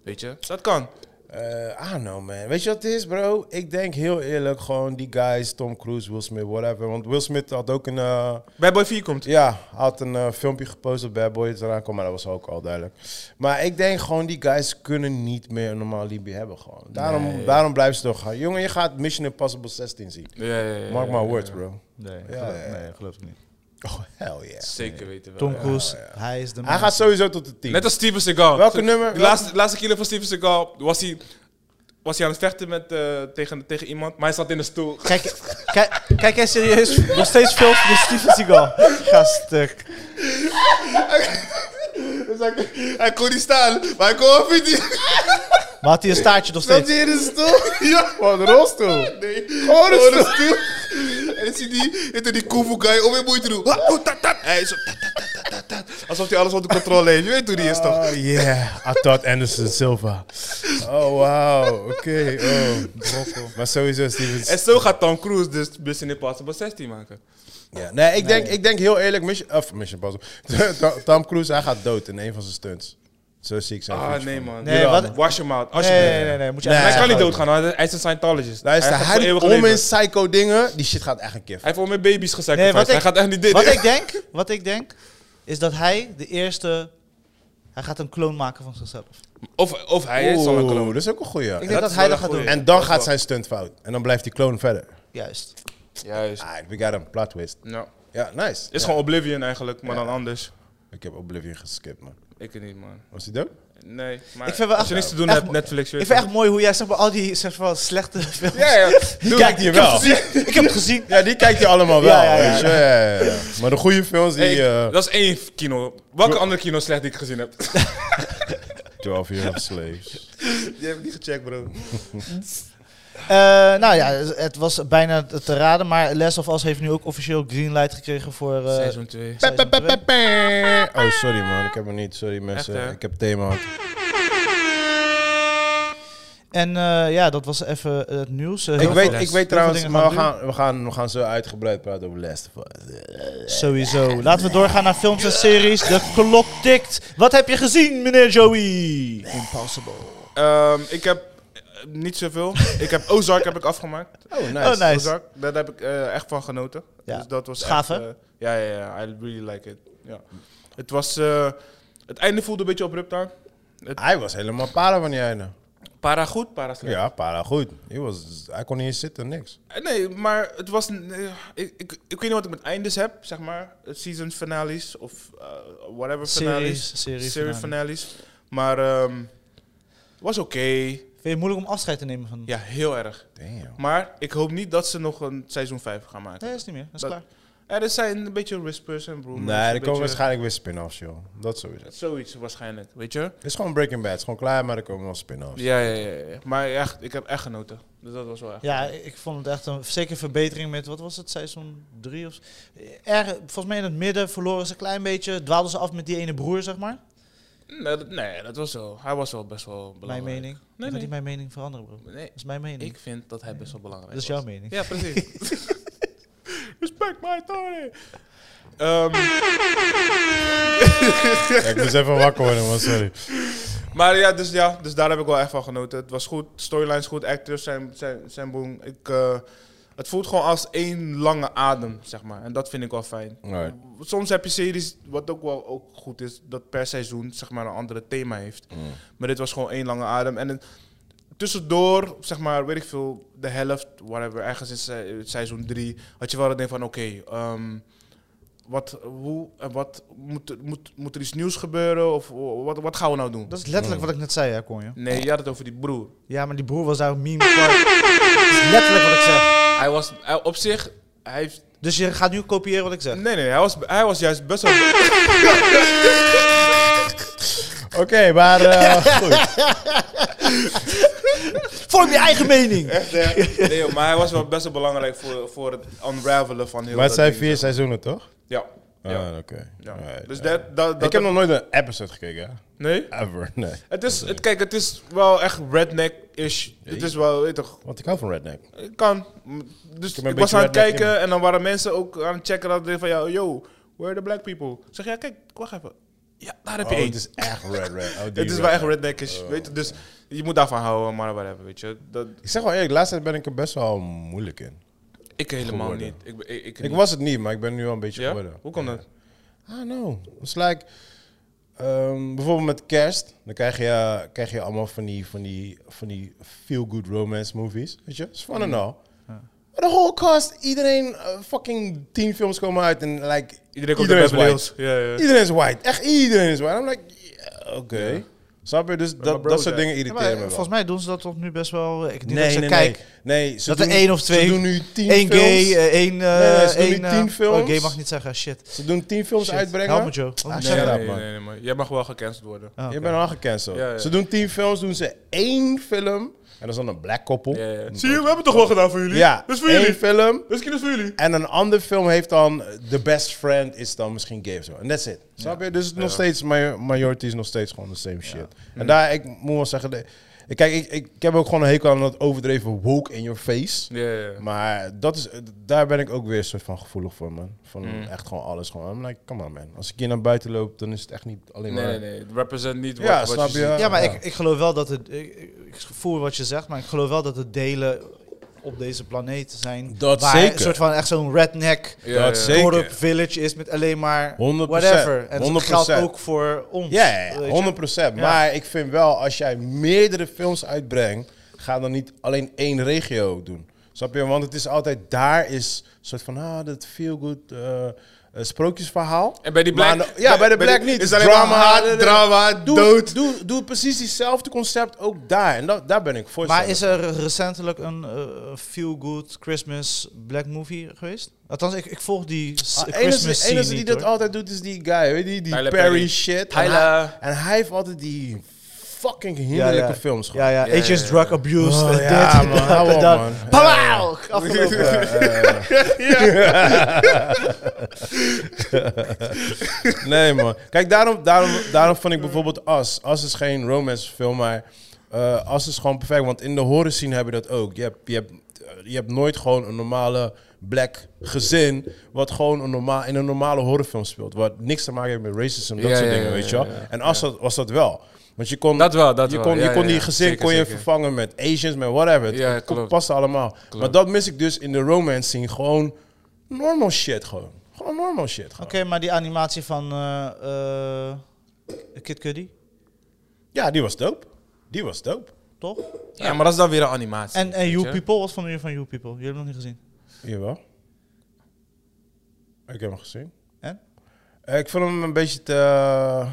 Weet je, Dus dat kan.
Eh, I don't know, man. Weet je wat het is, bro? Ik denk heel eerlijk gewoon die guys, Tom Cruise, Will Smith, whatever. Want Will Smith had ook een... eh,
Bad Boy 4 komt.
ja, had een eh, filmpje gepost op Bad Boys eraan kwam, maar dat was ook al duidelijk. Maar ik denk gewoon, die guys kunnen niet meer een normaal Libië hebben gewoon. Daarom, daarom blijven ze toch gaan. Jongen, je gaat Mission Impossible 16 zien.
Ja, ja, ja, ja.
Mark my words, bro.
Nee,
geloof- ja, ja.
nee, geloof ik niet.
Oh, hell yeah.
Zeker weten wel.
Tom
ja.
Cruise, hij is de man.
Hij gaat sowieso tot de 10.
Net als Steven Seagal.
Welke
Zo-
nummer-
De
welke-
laatste, laatste kilo van Steven Seagal was hij, was hij aan het vechten met, eh, tegen, tegen iemand, maar hij zat in de stoel.
Kijk, kijk, kijk jij serieus nog steeds veel van Steven Seagal? eh, Ga stuk.
Dus Hij kon niet staan, maar hij kon af in
*laughs*
die...
Maar had hij een staartje nog
Zat
steeds?
hij in de stoel? Ja. Wat, een rolstoel?
Nee,
Gewoon een stoel.
stil. En dan zie die, heet die kung fu guy, om weer moeite doen. Ah, Oh, tat, tat. Hij is zo, tat, tat, tat, tat, tat, tat. Alsof hij alles onder controle heeft. Je weet hoe die is, toch?
Oh yeah, I thought Anderson Silva. Oh wow, oké. Oh, Maar sowieso Stevens.
En zo gaat Tom Cruise dus Mission Impossible 16 maken.
Ja, nee, ik denk, ik denk heel eerlijk, Mission, of Mission Impossible. *laughs* Tom- Tom Cruise, hij gaat dood in een van zijn stunts. Zo zie ik zijn
Ah,
future.
nee man.
Nee,
Jawel,
wat-
Wash hem out,
Nee,
alsjeblieft.
nee, nee, nee. Moet je
Nee.
Hij
eigenlijk-
kan niet doodgaan, hoor. hij is een Scientologist.
Luister,
gaat
hij,
voor eeuwig
om
leven.
in psycho dingen, die shit gaat echt een keer.
Hij heeft al meer baby's
Nee,
gesacrificed.
wat
hij
ik,
gaat echt niet dit.
wat ik denk, wat ik denk, is dat hij de eerste... Hij gaat een kloon maken van zichzelf.
Of, of hij is al een
Oeh,
kloon.
dat is ook een
Ik
goeie.
denk dat,
is wel
hij dat
een
gaat doen.
goeie.
En dan gaat zijn stunt fout. En dan blijft die clone verder.
Juist.
Juist.
Ah, we got him, plot twist.
Nou,
Ja, nice.
is gewoon Oblivion eigenlijk, maar dan anders.
Ik heb Oblivion geskipt, man.
Ik niet, man.
Was hij dood?
Nee, maar
Ik vind wel
als je
echt-
niks te doen
echt
hebt,
mo-
Netflix. je
Ik
weet
vind
het.
echt mooi hoe jij zeg maar al die zeg maar, slechte films...
Ja,
*laughs*
ja.
Die
Dude,
kijkt
die
je
wel.
Ik heb het gezien. Ik heb het gezien.
Ja, die *laughs* kijkt je allemaal wel.
Ja, ja, ja.
weet je. Ja, ja, ja. Maar de goede films, die...
hey,
eh,
dat is één kino. Welke andere kino slecht die ik gezien heb?
12 Years of *laughs* Slaves.
Die heb ik niet gecheckt, bro.
Eh, nou ja, het was bijna te raden, maar Les of Us heeft nu ook officieel greenlight gekregen voor... eh,
Seizoen 2.
seizoen twee.
Oh, sorry man, ik heb hem niet. Sorry mensen,
Echt, hè?
ik heb thema.
En eh, ja, dat was even het nieuws. Eh,
Ik
heel
weet,
veel-
ik
veel
weet trouwens,
dingen
maar we
gaan
gaan, we, gaan, we gaan zo uitgebreid praten over Last of Us.
Sowieso. Laten we doorgaan naar films en series. De klok tikt. Wat heb je gezien, meneer Joey? Impossible.
Ehm, ik heb eh, niet zoveel. ik heb Ozark heb ik afgemaakt.
Oh, nice.
Oh, nice.
Ozark, daar heb ik eh, echt van genoten.
Ja.
Dus dat was
Gaaf,
echt,
hè?
eh, ja, ja, ja. I really like it. Ja. Het was... eh, het einde voelde een beetje abrupt aan.
Hij was helemaal para van die einde.
Para goed, para slecht.
Ja, para goed. Hij, was, hij kon niet eens zitten, niks.
Eh, Nee, maar het was... een- eh, ik, ik, ik weet niet wat ik met eindes heb, zeg maar. Eh, Season finales of eh, whatever finales.
Series, series
Serie
finale.
finales. Maar ehm, het was oké.
Vind je het moeilijk om afscheid te nemen van...
Ja, heel erg.
Damn.
Maar ik hoop niet dat ze nog een seizoen 5 gaan maken.
Nee, is niet meer. Dat is
Dat-
klaar.
Ja, er zijn een beetje whispers en rumors.
Nee,
een
er komen
beetje-
waarschijnlijk weer spin-offs, joh. Dat sowieso.
Zoiets waarschijnlijk, weet je?
Het is gewoon Breaking Bad. Het is gewoon klaar, maar er komen wel spin-offs.
Ja, ja, ja. ja. Maar echt, ik heb echt genoten. Dus dat was wel echt.
Ja, ik vond het echt een zeker verbetering met, wat was het, seizoen 3 of zo. Er, volgens mij in het midden verloren ze een klein beetje, dwaalden ze af met die ene broer, zeg maar.
Nee, dat, nee, dat was wel. Hij was wel best wel belangrijk.
Mijn mening. Nee,
nee.
Niet mijn mening veranderen, bro. Dat
Nee,
is mijn mening.
ik vind dat hij best wel belangrijk
dat is
was.
jouw mening.
Ja, precies. *laughs* Respect my authority. Ehm,
Ja, ik moest even wakker worden, man. Sorry.
maar ja dus, ja, dus daar heb ik wel echt van genoten. Het was goed, storylines goed, actors zijn, zijn, zijn boem. Ik, eh, het voelt gewoon als één lange adem, zeg maar. En dat vind ik wel fijn.
Alright.
Soms heb je series, wat ook wel ook goed is, dat per seizoen zeg maar, een andere thema heeft. Maar dit was gewoon één lange adem. En het- tussendoor, zeg maar, weet ik veel, de helft, whatever, ergens in se- seizoen 3, had je wel het ding van, oké, ehm, wat, hoe, en wat moet, moet, moet er iets nieuws gebeuren? Of wat, wat gaan we nou doen?
Dat is letterlijk wat ik net zei, hè, Konje.
Nee, je had het over die broer.
Ja, maar die broer was daar een meme. *laughs* kwijt. Dat is letterlijk wat ik zeg.
Hij was, hij- op zich, hij heeft...
Dus je gaat nu kopiëren wat ik zeg.
Nee, nee, hij was, hij was juist best wel... *laughs*
Oké, maar
*laughs*
eh, goed.
Vorm je eigen
*laughs*
mening.
Echt, hè? nee, joh, maar hij was wel best wel belangrijk voor, voor het unravelen van heel
Maar het
dat
zijn
ding,
vier
zo.
seizoenen, toch?
Ja. Ja.
Ah, oké.
ja.
Alright,
dus
alright.
dat, dat, dat,
Ik heb nog nooit een episode gekeken, hè?
Nee?
Ever, nee.
Het is, het, kijk, het is wel echt redneck-ish. Het is wel, weet je toch,
Want ik hou van redneck.
het kan. M- Dus
heb
ik,
een
was
beetje
aan het
redneck in
kijken en dan waren mensen ook aan het checken dat ding van, ja, yo, where are the black people? Ik Zeg, ja, kijk, wacht even. Ja, daar heb je
Oh,
één.
het is echt red, red. Oh, die
*laughs*
Oh,
het is
red.
wel echt redneck-ish, weet je. Dus je moet daarvan houden, maar whatever, weet je. Dat,
Ik zeg wel eerlijk, laatst tijd ben ik er best wel moeilijk in.
ik helemaal
Geworden.
niet. Ik, ben- ik, ik,
Ik was het niet, maar ik ben nu al een beetje
ja?
geworden.
Hoe kan dat?
I don't know. It's like, ehm, bijvoorbeeld met kerst, dan krijg je, krijg je allemaal van die, van die, van die feel-good romance movies. Weet je, is fun
Mm.
en al. Maar de whole cast, iedereen, eh, fucking tien films komen uit en like,
Iedereen komt
iedereen
uit
is
Beverly Hills.
white.
Ja, ja.
Iedereen is white. Echt iedereen is white. I'm like, yeah, oké. Snap je? Dus dat,
bro
dat soort
zei-
dingen
Ja,
irriteren
maar
me wel.
volgens mij doen ze dat toch nu best wel. Ik, niet dat ik
Nee,
ze
nee,
kijk,
nee. nee ze
dat
doen,
er één of twee-
Ze doen nu tien
één
films.
gay, eh, één.
Nee, nee,
eh,
ze doen nu
één, eh,
tien films.
Oh, gay mag niet zeggen, shit.
Ze doen tien films
Shit.
uitbrengen. Ah,
Help me, Joe. Ah, Wat moet ik
shut
Nee,
zeggen?
up,
nee,
man.
nee, nee, maar jij mag wel gecanceld worden.
Ah, oké.
Je bent al gecanceld.
Ja, ja.
Ze doen tien films, doen ze één film. En dat is dan een black koppel.
Ja, ja.
Zie je, we hebben het toch wel gedaan voor jullie?
Ja,
Dat is voor
één
jullie.
film.
Dat is kinders voor jullie.
En een ander film heeft dan... eh, The Best Friend is dan misschien gay of zo. En that's it. Snap je? Dus het is nog steeds... major- Majority is nog steeds gewoon de same shit. En daar, ik moet wel zeggen... de- ik- Kijk, ik, ik, ik heb ook gewoon een hekel aan dat overdreven woke in your face.
Ja, ja, ja.
Maar dat is, daar ben ik ook weer soort van gevoelig voor, man. Van
Mm.
echt gewoon alles. Gewoon. I'm like, come on, man. Als ik hier naar buiten loop, dan is het echt niet alleen maar...
Nee, nee, nee. Represent niet wat,
Ja,
wat
snap
je
je?
ziet.
Ja, maar
Ja.
Ik, ik geloof wel dat het. Ik, ik- ik voel wat je zegt, maar ik geloof wel dat het delen op deze planeet zijn.
Dat
waar
zeker.
Een soort van echt zo'n redneck.
Ja, ja.
dat zeker.
dorp, village is met alleen maar
100%,
whatever. En dat
100%.
geldt ook voor ons.
Ja, ja,
weet
ja,
je.
100 Maar ik vind wel, als jij meerdere films uitbrengt, ga dan niet alleen één regio doen. Snap je? Want het is altijd daar is een soort van, ah, dat feel good eh, eh, sprookjesverhaal.
En bij die black-
Maar dan- ja, bij de
bij
black
die-
niet.
is alleen maar haat, drama,
doe,
dood.
Doe, doe precies hetzelfde concept ook daar. En dat, daar ben ik voor.
Maar is er recentelijk een eh, feel-good Christmas black movie geweest? Althans, ik, ik volg die s-
de Ah, enige,
Christmas scene
enige die
niet,
dat
hoor.
altijd doet is die guy, weet je, die, die
Tyler
Perry,
Perry.
shit. En
Tyler.
hij, eh, en hij heeft altijd die fucking hinderlijke films gehad.
Ja, ja.
Ja,
Ages
ja, ja.
drug abuse.
Oh,
en
ja,
dit,
man, hou op, man.
Pauw!
*laughs*
Afgelopen.
Nee, man. Kijk, daarom, daarom, daarom vond ik bijvoorbeeld As. As is geen romancefilm, maar eh As is gewoon perfect. Want in de horror scene heb je dat ook. Je hebt, je hebt, eh, je hebt nooit gewoon een normale black gezin... wat gewoon een normaal, in een normale horrorfilm speelt. Wat niks te maken heeft met racisme, dat
Ja,
soort
ja,
dingen,
ja,
weet je
ja,
wel.
ja.
En As dat- was dat wel. Want je kon,
Dat wel, dat
je
wel.
kon,
Ja,
je kon
ja,
die
ja.
gezin
Zeker,
kon je
zeker.
vervangen met Asians, met whatever. Het
Ja,
het
klopt.
past allemaal. Maar dat mis ik dus in de romance scene. Gewoon normal shit, gewoon. Gewoon normal shit. Gewoon.
Oké, maar die animatie van eh, eh, Kid Cudi,
Ja, die was dope. Die was dope.
toch?
Ja, maar dat is dan weer een animatie.
En, en
weet
You
je?
People, wat vonden jullie van You People? Jullie hebben hem nog niet gezien.
Jawel. Ik heb hem gezien.
En?
Eh, Ik vond hem een beetje te... eh,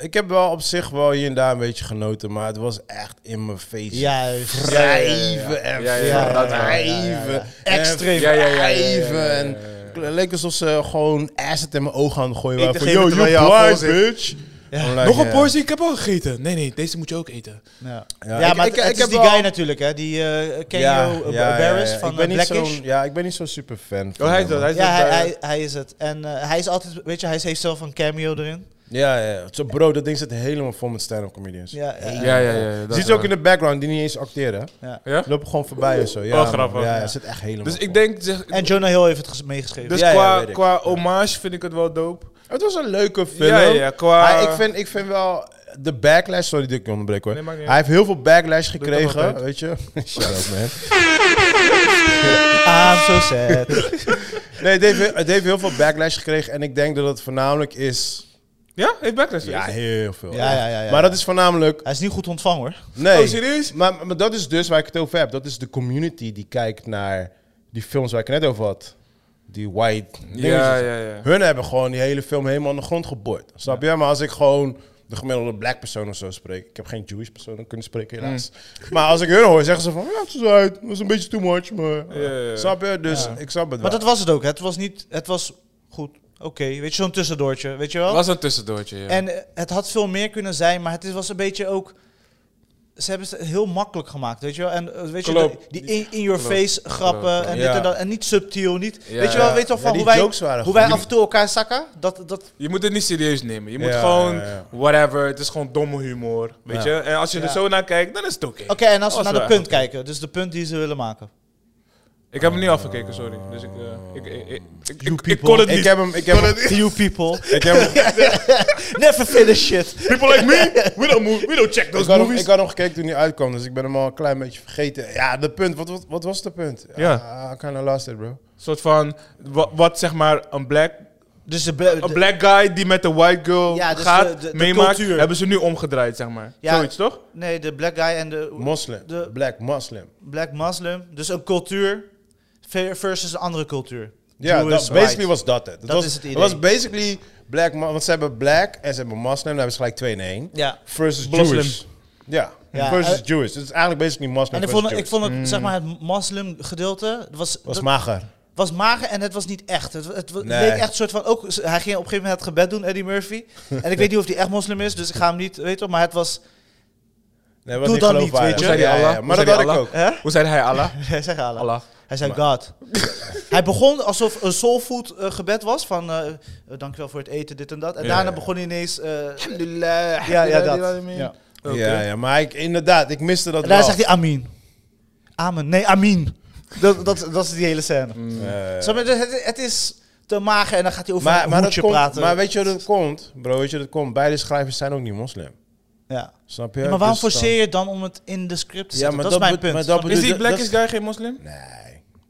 ik heb wel op zich wel hier en daar een beetje genoten, maar het was echt in mijn face.
Juist.
Wrijven en
Ja, ja, ja, dat wel.
wrijven. en
Extreem.
Ja, ja, ja, ja, ja, ja, ja,
wrijven
ja, ja.
En het leek alsof ze gewoon acid in mijn ogen aan het gooien
Ik
waren. Van,
degene met
yo, you
waar je aan
blind,
vol zit.
bitch.
Ja.
I'm like,
Nog een
ja.
portie, ik heb al gegeten. Nee, nee, deze moet je ook eten.
Ja,
Ja,
ja,
ik-
maar
ik-
het, het
ik
is
heb
die
wel-
guy natuurlijk, hè? Die eh Kenyo eh, Barris
ja.
van
ik ben
eh,
niet
Blackish.
zo'n- Ja, ik ben niet zo'n super fan.
Oh, hij is dat, hij is
Ja,
dat. eh,
hij, hij, hij is het. En eh, hij is altijd, weet je, hij heeft zelf een cameo erin.
Ja, ja. Zo, bro, dat ding zit helemaal vol met stand-up comedians.
Ja, eh, ja,
Ja, ja, ja.
Je ziet ze ook in de background die niet eens acteren. hè?
ja.
Ja?
Die lopen gewoon voorbij en zo. Ja,
Oh, grappig.
man. Ja, ja, het zit echt helemaal
Dus
vol.
ik denk, zeg,
En Jonah Hill heeft het ges- meegeschreven.
dus
Ja, ja,
qua,
weet ik.
qua hommage vind ik het wel dope.
Het was een leuke film.
Ja, ja, qua-
Maar ik vind, ik vind wel de backlash... Sorry dat ik je onderbreek hoor.
Nee, maakt niet
Hij heeft heel veel backlash gekregen,
altijd.
weet je. *laughs* Shut up, man.
I'm so sad. *laughs*
Nee, het heeft, het heeft heel veel backlash gekregen. En ik denk dat het voornamelijk is...
Ja, heeft backlash.
Ja,
Ja,
heel veel.
Ja, ja, ja, ja.
Maar dat is voornamelijk...
Hij is niet goed ontvangen hoor.
Nee.
Oh, serieus?
Maar, maar dat is dus waar ik het over heb. Dat is de community die kijkt naar die films waar ik het net over had. Die white dingetjes.
ja, ja. ja.
Hun hebben gewoon die hele film helemaal aan de grond geboord. Snap je? Maar als ik gewoon de gemiddelde black persoon of zo spreek... Ik heb geen Jewish persoon kunnen spreken, helaas.
Mm.
Maar als ik hun hoor, zeggen ze van... Ja, het is uit. Het was een beetje too much, maar...
Ja, ja, ja.
Snap je? Dus ik snap het
Maar
wel.
dat was het ook. hè. Het was niet. Het was goed. Oké, weet je, zo'n tussendoortje, weet je wel?
Was een tussendoortje, ja.
En eh, het had veel meer kunnen zijn, maar het is- was een beetje ook. Ze hebben het heel makkelijk gemaakt, weet je wel? En eh, weet je,
Klopt.
de- die in- in-your-face grappen
Klopt.
en
Ja.
dit en dat. En niet subtiel, niet...
Ja,
weet je wel,
ja.
weet je wel
Ja,
van
die
hoe wij,
jokes waren
hoe
goed.
wij
Die-
af en toe elkaar zakken? Dat, dat,
Je moet het niet serieus nemen. Je moet
Ja,
gewoon,
ja, ja.
whatever, het is gewoon domme humor. Weet
Ja.
je? En als je er
Ja.
zo naar kijkt, dan is het oké.
Oké, en als we
Was
naar
wel
de punt kijken, dus de punt die ze willen maken.
Ik heb hem niet afgekeken, sorry. Dus ik, eh, ik, ik, ik, ik, ik, ik
People,
kon het niet.
Ik heb hem... Ik heb hem...
You people,
*laughs* Ik heb hem
*laughs* never finish shit.
People like me, we don't, move, we don't check
Ik
those
had, hem,
movies.
ik had hem gekeken toen hij uitkwam, dus ik ben hem al een klein beetje vergeten. Ja, de punt. Wat, wat, wat was de punt? Ah,
Ja.
I kinda lost it, bro.
Een soort van, wat, wat zeg maar, een black,
Dus de,
een
de,
black guy die met een white girl
Ja, dus
gaat,
de- de- de
meemaakt,
cultuur.
hebben ze nu omgedraaid, zeg maar.
Ja.
Zoiets, toch?
nee, de black guy en de
Moslim.
De-
Black Muslim.
black muslim. Dus een cultuur ver- versus een andere cultuur.
Ja,
Jew
dat,
is
basically
white.
was dat het.
Dat
was,
is het idee.
was basically black, mu- want ze hebben black en ze hebben moslim, dan hebben ze gelijk twee in één.
Ja.
Versus
Muslim.
Jewish. Ja,
Ja,
versus
eh,
Jewish. Dus het is eigenlijk basically moslim
En ik
versus
vond, ik
Jewish.
vond het, zeg maar, het moslim gedeelte was,
Hmm. was
dat-
mager.
was mager en het was niet echt. Het, het wa-
Nee.
leek echt een soort van, ook, z- hij ging op een gegeven moment het gebed doen, Eddie Murphy. En
*laughs*
ik weet niet of hij echt moslim is, dus ik ga hem niet, weet je wel, maar het was,
Nee, was
Doe
niet
dan niet,
geloofwaardig.
weet je.
Zei die
Ja, ja, ja.
Allah? Hoe
Maar
zei
dat had
die
ik
Allah?
ook.
hè? *laughs*
Hoe zei hij Allah?
Hij zei Allah.
Allah.
Hij zei God. hij begon alsof een soulfood eh, gebed was, van eh, eh, dankjewel voor het eten, dit en dat. En
Ja,
daarna
ja.
begon hij
*laughs*
ineens, eh, ja, ja, dat. Ja.
Oké.
Ja, ja, maar ik, inderdaad, ik miste dat
En daar
wel.
zegt hij amin. Amen. Nee, amin. Dat, dat, dat is die hele scène.
Eh,
Snap je? Dus het, het is te mager en dan gaat hij over
maar,
een
maar, dat
hoedje
komt,
praten.
maar weet je hoe dat komt? Bro, weet je hoe dat komt? Beide schrijvers zijn ook niet moslim.
ja.
Snap je?
Ja, maar waarom
Dus dan-
forceer je dan om het in de script te
Ja,
zetten?
maar
dat, is
dat
mijn
be-
punt.
maar dat
Van-
Is die
Dat-
black
dat-
guy geen moslim?
Nee.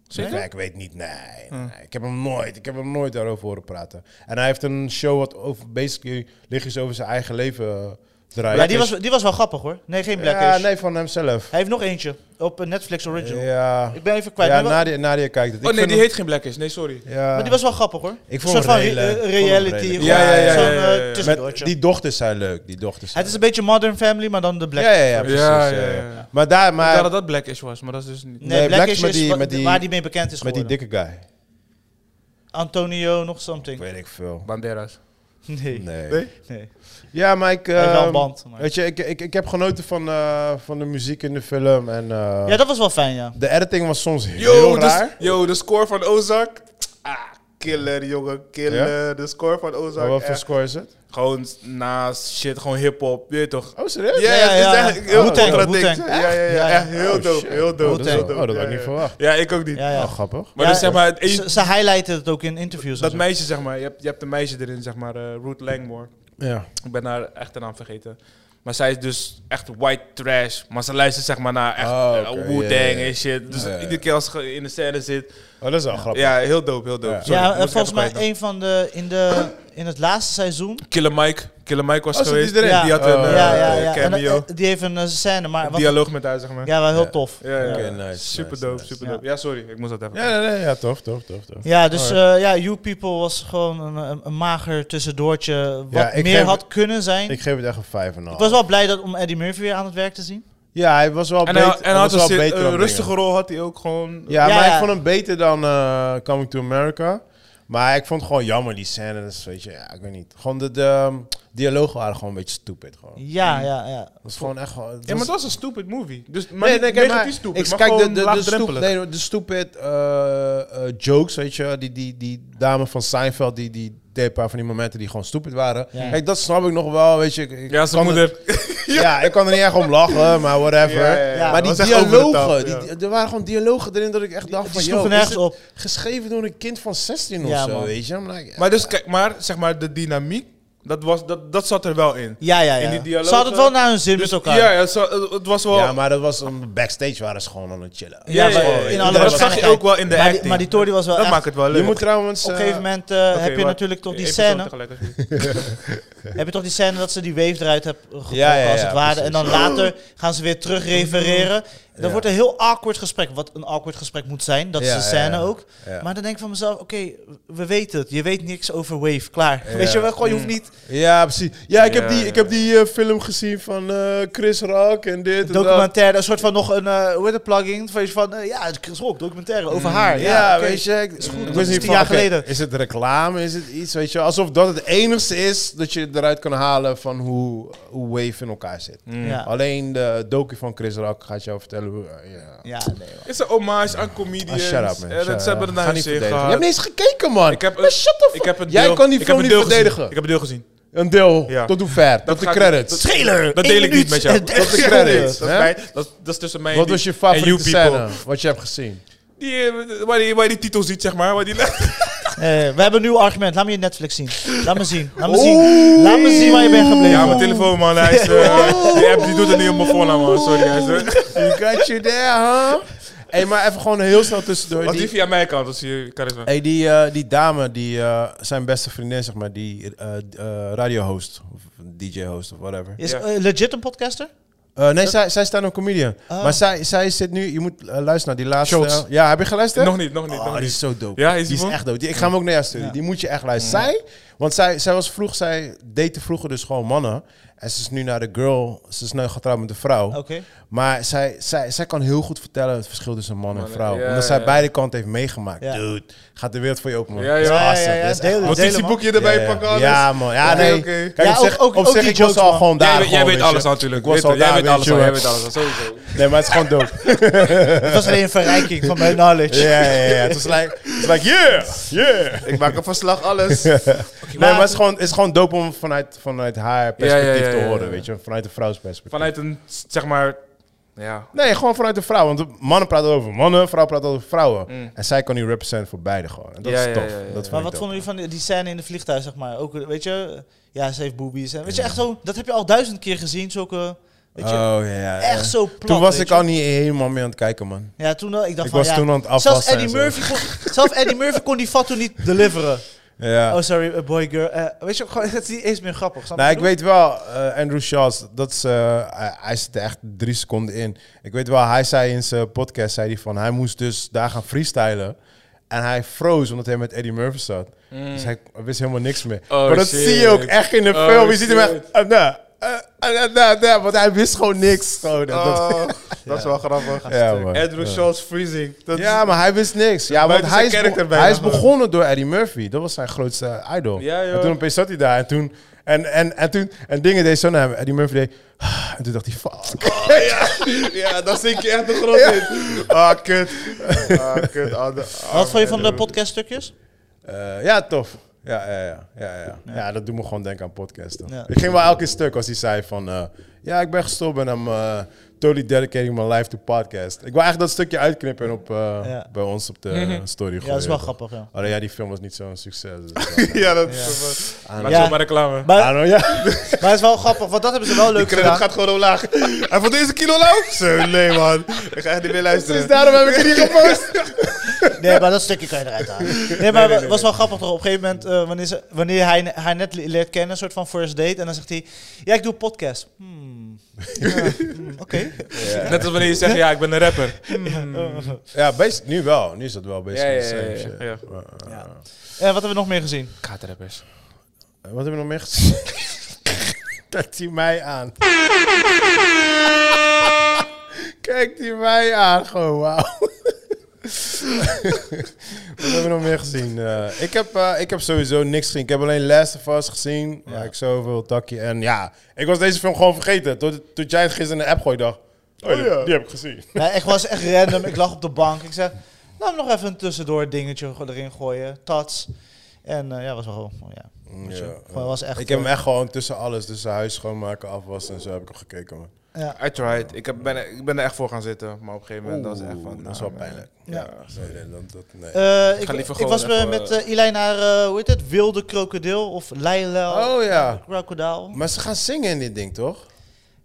Zeker?
Nee, ik weet niet. Nee, nee. Ik heb hem nooit. Ik heb hem nooit daarover horen praten. En hij heeft een show wat over basically lichtjes over zijn eigen leven eh, draait.
ja, die was, die was wel grappig hoor. Nee, geen Blackish.
Ja, nee, van hemzelf.
Hij heeft nog eentje op eh, Netflix Original.
Ja.
Ik ben even kwijt.
Ja, nou,
maar, wel-
Nadia, Nadia kijkt het.
Oh nee, die
vind
heet geen black is. Nee, sorry.
hem- Ja.
maar die was wel grappig hoor.
Ik
een
vond
soort
hem
van
redelijk.
re- eh,
Ik vond hem
reality.
redelijk.
gewoon
Ja, ja, ja,
Zo'n
ja, ja, ja.
eh,
Met
tussendoortje.
Met, die dochters zijn leuk. Die dochters zijn
Het is een beetje Modern Family, maar dan de
leuk.
Black.
Ja, ja, ja. Precies, ja, ja,
ja.
Maar daar,
Maar
maar
dat dat black is was, maar dat is dus niet.
Nee,
Nee,
Blackish
Black is met
is
die-
wa-
met die-
waar die mee bekend is
met die
geworden.
dikke guy.
Antonio nog something.
Weet ik veel.
Banderas.
*laughs* Nee. nee.
Nee.
nee.
Ja, maar ik...
Hij heeft wel
ehm,
een band. maar-
Weet je, ik, ik, ik heb genoten van, eh, van de muziek in de film. En, eh,
Ja, dat was wel fijn ja.
De editing was soms heel
Yo, dus-
raar.
de, yo, de score van Ozark. Ah, killer, jongen, killer. De score van
Maar
Ozark.
wat voor
echt.
score is het?
Gewoon naast shit, gewoon hip-hop. Je weet toch?
Oh, serieus?
Ja, ja,
ja,
het is
ja.
echt heel
Wu-Tang,
contradict.
Wu-Tang.
Ja, ja, ja,
Ja, ja.
echt heel
Oh,
dope,
shit.
heel dope.
Oh, dat, is-
Wu-Tang.
heel dope.
oh, dat
ja,
had ik niet
ja.
verwacht.
Ja, ik ook niet.
Ja, ja.
Oh, grappig.
Maar
Ja,
dus zeg maar, het-
Ze, ze highlighten het ook in interviews. en
dat
zo.
meisje zeg maar, je hebt, je hebt een meisje erin zeg maar, eh, Ruth Langmore.
Ja.
Ik ben haar echte naam vergeten. Maar zij is dus echt white trash. Maar ze luistert zeg maar naar echt
Oh,
oh,
oké,
Wu-Tang
ja, ja, ja.
en shit. Dus
Ja, ja.
iedere keer als ze in de scène zit.
Oh, dat is wel grappig.
Ja, heel dope, heel dope.
Ja.
Sorry,
ja,
moest
eh,
ik
volgens
even
mij
kwijt dan.
een van de in, de... in het laatste seizoen.
Killer Mike. Killer Mike was
Oh, zit die
geweest.
erin?
Die had
Oh.
een eh,
ja, ja, ja. En,
cameo.
eh, die heeft een eh, scène, maar wat,
dialoog met haar, zeg maar. Ja,
ja, wel heel tof.
ja, ja.
Oké, nice,
super
nice,
dope,
nice.
super dope. Ja. sorry, ik moest dat even.
Ja, nee, nee, ja, tof, tof, tof, tof.
Ja, dus eh, ja, You People was gewoon een, een, een mager tussendoortje. Wat
Ja, ik
meer
geef-
had kunnen zijn.
Ik
Ik,
geef het echt een 5 en
was wel blij dat, om Eddie Murphy weer aan het werk te zien.
Ja, hij was wel
En hij,
beter.
en hij
was
had een
wel
sit-
beter
eh,
dan
rustige
dingen.
rol, had hij ook gewoon.
Ja,
Ja,
maar ik
ja.
vond hem beter dan eh, Coming to America. Maar ik vond het gewoon jammer, die scènes, weet je. Ja, ik weet niet. Gewoon de, de, ehm, dialogen waren gewoon een beetje stupid. Gewoon.
Ja, ja, ja.
Dat is gewoon echt gewoon... dat
Ja, maar
is-
dat was een stupid movie. Dus, maar
Nee,
nee,
nee,
niet
kijk,
negatief
maar
stupid,
ik
maar
kijk, de,
gewoon
de, de, stoep,
laagdrempelig.
nee, de stupid eh, eh, jokes, weet je, die, die, die dame van Seinfeld, die, die deed een paar van die momenten die gewoon stupid waren.
Ja.
Kijk, dat snap ik nog wel, weet je. ik- ik
Ja, zijn
kan
moeder.
er- *laughs* ja, ik kan er niet echt om lachen, maar whatever.
Ja, ja, ja.
Maar
Dat
die
was echt over de
dialogen,
top,
die,
ja.
die- er waren gewoon dialogen erin dat ik echt dacht
Die
van,
sloegen
joh, is
nergens
dit
op.
geschreven door een kind van 16
Ja,
of zo,
man.
weet je. I'm like,
Maar dus kijk, maar zeg maar de dynamiek, dat, was, dat, dat zat er wel in.
Ja, ja, ja.
In die dialoog,
Ze hadden het wel
eh,
naar hun zin
Dus
met elkaar.
ja, ja, zo- het was wel.
ja, maar dat was, om- backstage waren ze gewoon aan het chillen.
Ja,
ja,
maar
ja, ja.
in
Dat
alle
zag je ook wel in de
maar
acting.
Die, maar die Tori was wel
dat
echt...
maakt het wel leuk.
Je moet trouwens...
Op een
eh,
gegeven moment eh,
Oké,
heb je
wat-
natuurlijk toch die
één persoon
scène...
tegelijk, alsjeblieft.
Heb je toch die scène dat ze die wave eruit hebben getrokken
Ja, ja, ja,
als het ware.
precies.
En dan later gaan ze weer terug refereren. Dan
Ja.
wordt een heel awkward gesprek. Wat een awkward gesprek moet zijn. Dat is
Ja,
de
ja,
scène
ja.
ook.
Ja.
Maar dan denk ik van mezelf, oké, we weten het. Je weet niks over wave. Klaar. Weet je wel, gewoon, je hoeft niet...
Ja, precies. Ja, ik heb
Ja,
die,
ja.
Ik heb die eh, film gezien van eh, Chris Rock en dit en dat.
Documentaire, een soort van nog een, eh hoe heet het, plugin? Van, iets van, eh, ja, het is ook documentaire over haar.
Mm, Ja,
Ja, oké.
weet je. Ik, is
dat is tien jaar geleden.
Is het reclame? Is het iets? Weet je, alsof dat het enigste is dat je eruit kan halen van hoe, hoe Wave in elkaar zit.
Mm. Ja,
Alleen de docu van Chris Rock gaat jou vertellen hoe. eh, ja.
ja nee, man.
Het *laughs* is een hommage aan comedians.
Ah, shut up, man.
En
Shut
het, ze hebben het
up. Ga
naar hun
niet
zin
verdedigen. Je hebt
gehad.
niet eens gekeken, man.
Ik heb een-
maar shut the fuck.
Ik heb een
Jij
deel-
kan die
ik heb
film
een
niet
deel gezien.
verdedigen.
Ik heb een deel gezien.
Een deel.
Ja.
Tot hoe ver? Tot de
ga ik-
credits.
dat-
Trailer!
Dat
Eén
deel ik
minuut
niet met
*laughs*
jou.
en dertig
Dat is
seconden.
credits.
Dat is,
Hè?
mijn, dat, is- dat is tussen mij en
Wat
die-
was je
en
favoriete
you people.
scène? Wat je hebt gezien?
Die, eh, waar, die, waar je die titel ziet, zeg maar. Waar die
Eh, we hebben een nieuw argument. Laat me je Netflix zien. Laat me zien. Laat me zien, Laat me zien waar je bent gebleven.
ja, mijn telefoon, man. Hij is, eh, die app die doet het niet op mijn voornaam, man. Sorry, hij is, eh.
You got you there, huh? Hé, maar even gewoon heel snel tussendoor.
Wat die
Die,
via mij kan, dat zie je charisma.
hey, die, eh, die dame, die, eh, zijn beste vriendin, zeg maar, die eh, radio-host, of DJ-host of whatever.
Is
Ja.
eh, legit een podcaster?
Eh, nee, zij, zij staat een comedian.
Oh.
Maar zij, zij zit nu, je moet eh, luisteren naar die laatste.
Schultz.
Ja, heb je geluisterd?
Nog niet, nog niet,
Oh,
nog
die
niet.
is zo dope.
Ja, is die
die is
man?
echt dope. Die, ik ga hem ook naar jou sturen.
Ja.
Die moet je echt luisteren. Zij, want zij, zij was vroeg, zij date vroeger dus gewoon mannen. En ze is nu naar de girl, ze is nu getrouwd met een vrouw.
Oké.
Maar zij, zij, zij kan heel goed vertellen het verschil tussen man en
Man,
vrouw.
ja,
omdat zij
ja.
beide kanten heeft meegemaakt.
Ja.
Dude, gaat de wereld voor je open, man.
Ja,
Dat is
ja, ja,
awesome.
ja,
Dat is
deel
echt
het.
awesome.
Notitieboekje
Ja,
erbij
ja.
pakken, alles.
Ja, man. Ja,
Oké,
nee.
oké.
Kijk,
Ja,
op zich,
ook- ook-
op
ook
zich
die
ik was
jokes,
al
man.
gewoon daar.
jij, weet-
gewoon,
jij weet
weet je.
alles natuurlijk.
Ik was
Weet-
al
jij
daar,
weet
weet
alles
je
al, jij
wel.
weet alles al, sowieso.
Nee, maar het is gewoon
*laughs*
dope.
Het was alleen een verrijking van mijn knowledge.
Ja, ja, ja. Het is like, it's like, yeah,
*laughs*
yeah.
*laughs* Ik maak een verslag, alles.
Nee, maar het is gewoon, het is gewoon dope om vanuit, vanuit haar perspectief
ja, ja,
te
ja.
horen, weet je. Vanuit de vrouwsperspectief.
Vanuit een, zeg maar... Ja.
Nee, gewoon vanuit de vrouw. Want de mannen praten over mannen, vrouwen praten over vrouwen. En zij kan nu representen voor beide gewoon. En dat
Mm. Ja,
is
ja,
tof.
ja, ja, ja.
Dat vind
Maar
ik
wat
dope.
vonden jullie van die- die scène in de vliegtuig, zeg maar? Ook, eh, weet je, ja, ze heeft boobies. En, weet je, echt zo, dat heb je al duizend keer gezien, zulke... Weet je,
Oh, ja, ja, ja.
echt zo plat,
Toen was
weet
ik
je.
al niet helemaal mee aan het kijken, man.
Ja, toen al, ik dacht
Ik
van,
was
ja,
toen aan het
zelfs
afwassen
Eddie,
en zo.
Murphy kon, zelfs Eddie Murphy kon die fat toen niet deliveren.
Ja.
Oh, sorry, eh, boy, girl. Eh, weet je, gewoon, *laughs* het is niet eens meer grappig. snap je
nou, ik
wat
weet wel, eh, Andrew Charles, dat is, eh, hij, hij zit er echt drie seconden in. Ik weet wel, hij zei in zijn podcast, zei hij van, hij moest dus daar gaan freestylen. En hij froze omdat hij met Eddie Murphy zat. Dus hij wist helemaal niks meer.
Mm. Oh,
maar dat
shit.
zie je ook echt in de
Oh,
film. Je ziet hem echt,
shit.
eh, nou, eh, eh, eh, nou, nou, want hij wist gewoon niks. Gewoon, dat- dat-
Oh,
*laughs*
dat is wel grappig.
Ja, man.
Andrew
Ja.
Schultz freezing. Dat
Ja, maar hij wist niks. Ja, want
buiten
hij
zijn
is, be-
character bijna
hij is
gewoon.
begonnen door Eddie Murphy. Dat was zijn grootste idol.
Ja, joh.
en toen opeens zat hij daar. En toen... En, en, en toen... En dingen deed zo naar hem. Eddie Murphy deed... *sighs* En toen dacht hij... Fuck.
is, ja, dan zink je echt de grond in. Ah, kut. Ah, kut. Ah, de-
ik bedoel?
ah,
Wat vond je van
man.
de podcaststukjes?
Eh, ja, tof. Ja, ja, ja, ja, ja. Ja, dat doet me gewoon denken aan podcasten.
Ja.
Ik ging wel elke keer stuk als hij zei van... eh, ja, ik ben gestopt en I'm eh, totally dedicating my life to podcast. Ik wil eigenlijk dat stukje uitknippen en op, eh,
Ja.
bij ons op de story
*laughs* Ja, dat is wel
gooien.
grappig, ja.
Alleen ja, die film was niet zo'n succes. Dus,
*laughs* Ja, dat is
Ja.
wel-
Maak
Ja.
zomaar reclame.
Maar,
I don't- ja.
*laughs* maar het is wel grappig, want dat hebben ze wel leuk
Credit
gedaan.
gaat gewoon omlaag. En voor deze kilo
*laughs*
lauw? Zo, nee man. Ik ga echt niet meer luisteren.
Dus daarom heb ik het niet gepost.
Nee, maar dat stukje kan je eruit halen. Nee, maar het was wel grappig toch? Op een gegeven moment, eh, wanneer, ze, wanneer hij ne- haar net le- leert kennen, een soort van first date. En dan zegt hij, ja, ik doe een podcast. Hmm. Ja, hmm, Oké.
Net als wanneer je zegt, ja, ik ben een rapper.
Ja, best, nu wel. Nu is dat wel best
Ja, ja,
the same
ja, ja,
shit.
ja.
Eh, eh,
Ja. Eh, wat hebben we nog meer gezien?
Katerrappers.
Eh, Wat hebben we nog meer gezien? *laughs* Kijkt hij mij aan. *laughs* Kijkt hij mij aan, gewoon wauw. *laughs* Wat hebben we nog meer gezien? Eh, ik, heb, eh, ik heb sowieso niks gezien. Ik heb alleen Last of Us gezien. Ja. ik zoveel takje. En ja, ik was deze film gewoon vergeten. Tot, tot jij het gisteren in de app gooide, dacht oh, die- die, heb ik gezien.
Nee, ik was echt random. Ik lag op de bank. Ik zei, laat me nog even een tussendoor dingetje erin gooien. Tats. En eh, ja, was wel gewoon, ja. weet je,
Ja,
gewoon, was echt,
ik heb hem
eh,
echt gewoon tussen alles. Tussen huis schoonmaken, afwassen en zo heb ik hem gekeken. Man.
Ja.
I tried. Ik, heb, ben, er- ik ben er echt voor gaan zitten. Maar op een gegeven moment dat is echt van...
dat is wel
nou,
pijnlijk.
Ja.
Nee, nee, dat, dat, nee.
Eh, ik,
ga liever
ik
gewoon
was eh,
even,
met eh Eli naar, eh, hoe heet het, Wilde Krokodil of Leila
oh ja.
Crocodile.
Maar ze gaan zingen in dit ding, toch?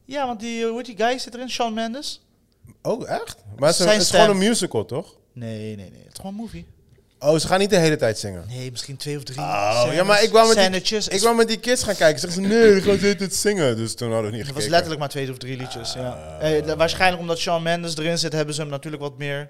Ja, want die, eh, hoe heet die guy zit erin? Shawn Mendes?
Oh, echt? Maar ze,
Zijn
het is
stem.
gewoon een musical, toch?
Nee, nee, nee. Het is gewoon een movie.
Oh, ze gaan niet de hele tijd zingen.
Nee, misschien twee of drie.
Oh,
scènes-
ja, maar ik wou, met die,
scènetjes.
ik wou met die kids gaan kijken. Ze zeggen, nee, ik ga dit, dit zingen. Dus toen hadden we niet
Het
gekeken.
was
Ah.
letterlijk maar twee of drie liedjes. ja. Eh, de- waarschijnlijk omdat Shawn Mendes erin zit, hebben ze hem natuurlijk wat meer.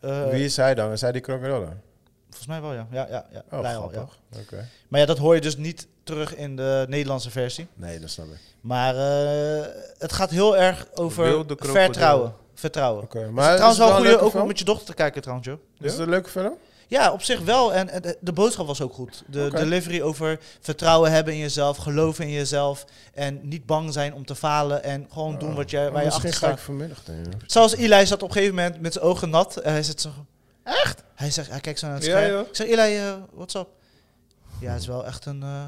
eh,
Wie is hij dan? Is hij die krokodillen?
Volgens mij wel, ja. ja, ja, ja.
Oh,
Lyle, ja.
grappig. Oké.
Maar ja, dat hoor je dus niet terug in de Nederlandse versie.
Nee, dat snap ik.
Maar eh, het gaat heel erg over
Wilde krokodil.
vertrouwen. Vertrouwen.
Oké,
Maar
Maar
is trouwens
is
wel
het
een
een
goede, ook
leuke
om
film?
met je dochter te kijken trouwens, joh.
Is het een leuke film? Oh,
Ja, op zich wel. En eh, de- de boodschap was ook goed. De
Oké.
delivery over vertrouwen hebben in jezelf, geloven in jezelf. En niet bang zijn om te falen. En gewoon doen wat jij, waar je achter
Misschien ga ik
staat.
vanmiddag dan, joh.
Zoals Eli zat op een gegeven moment met zijn ogen nat. En hij zit zo. Echt? Hij, zegt, hij kijkt zo naar het
Ja,
scherm.
joh.
Ik zeg, Eli, eh, what's up? Ja, het is wel echt een. eh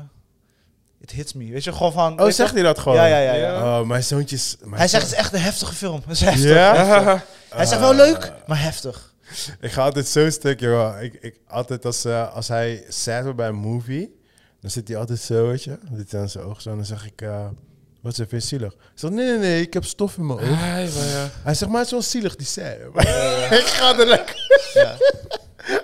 it hits me. Weet je, gewoon van.
Oh,
weet
zegt
je-
hij dat gewoon?
Ja, ja, ja. ja.
Oh, mijn zoontjes... Mijn
Hij zegt,
zoon-
het is echt een heftige film. Het is heftig.
*laughs*
Ja?
Hij zegt wel leuk, maar heftig.
Ik ga altijd zo stuk, joh. Ik, ik, altijd als, eh, als hij sad wordt bij een movie, dan zit hij altijd zo, weet je. Dan zit hij aan zijn oog zo en dan zeg ik, eh, wat is er weer zielig? Hij zegt, nee, nee, nee, ik heb stof in mijn oog. Hij zegt, maar het is wel zielig, die sad. *laughs* ik ga er lekker.
Ja.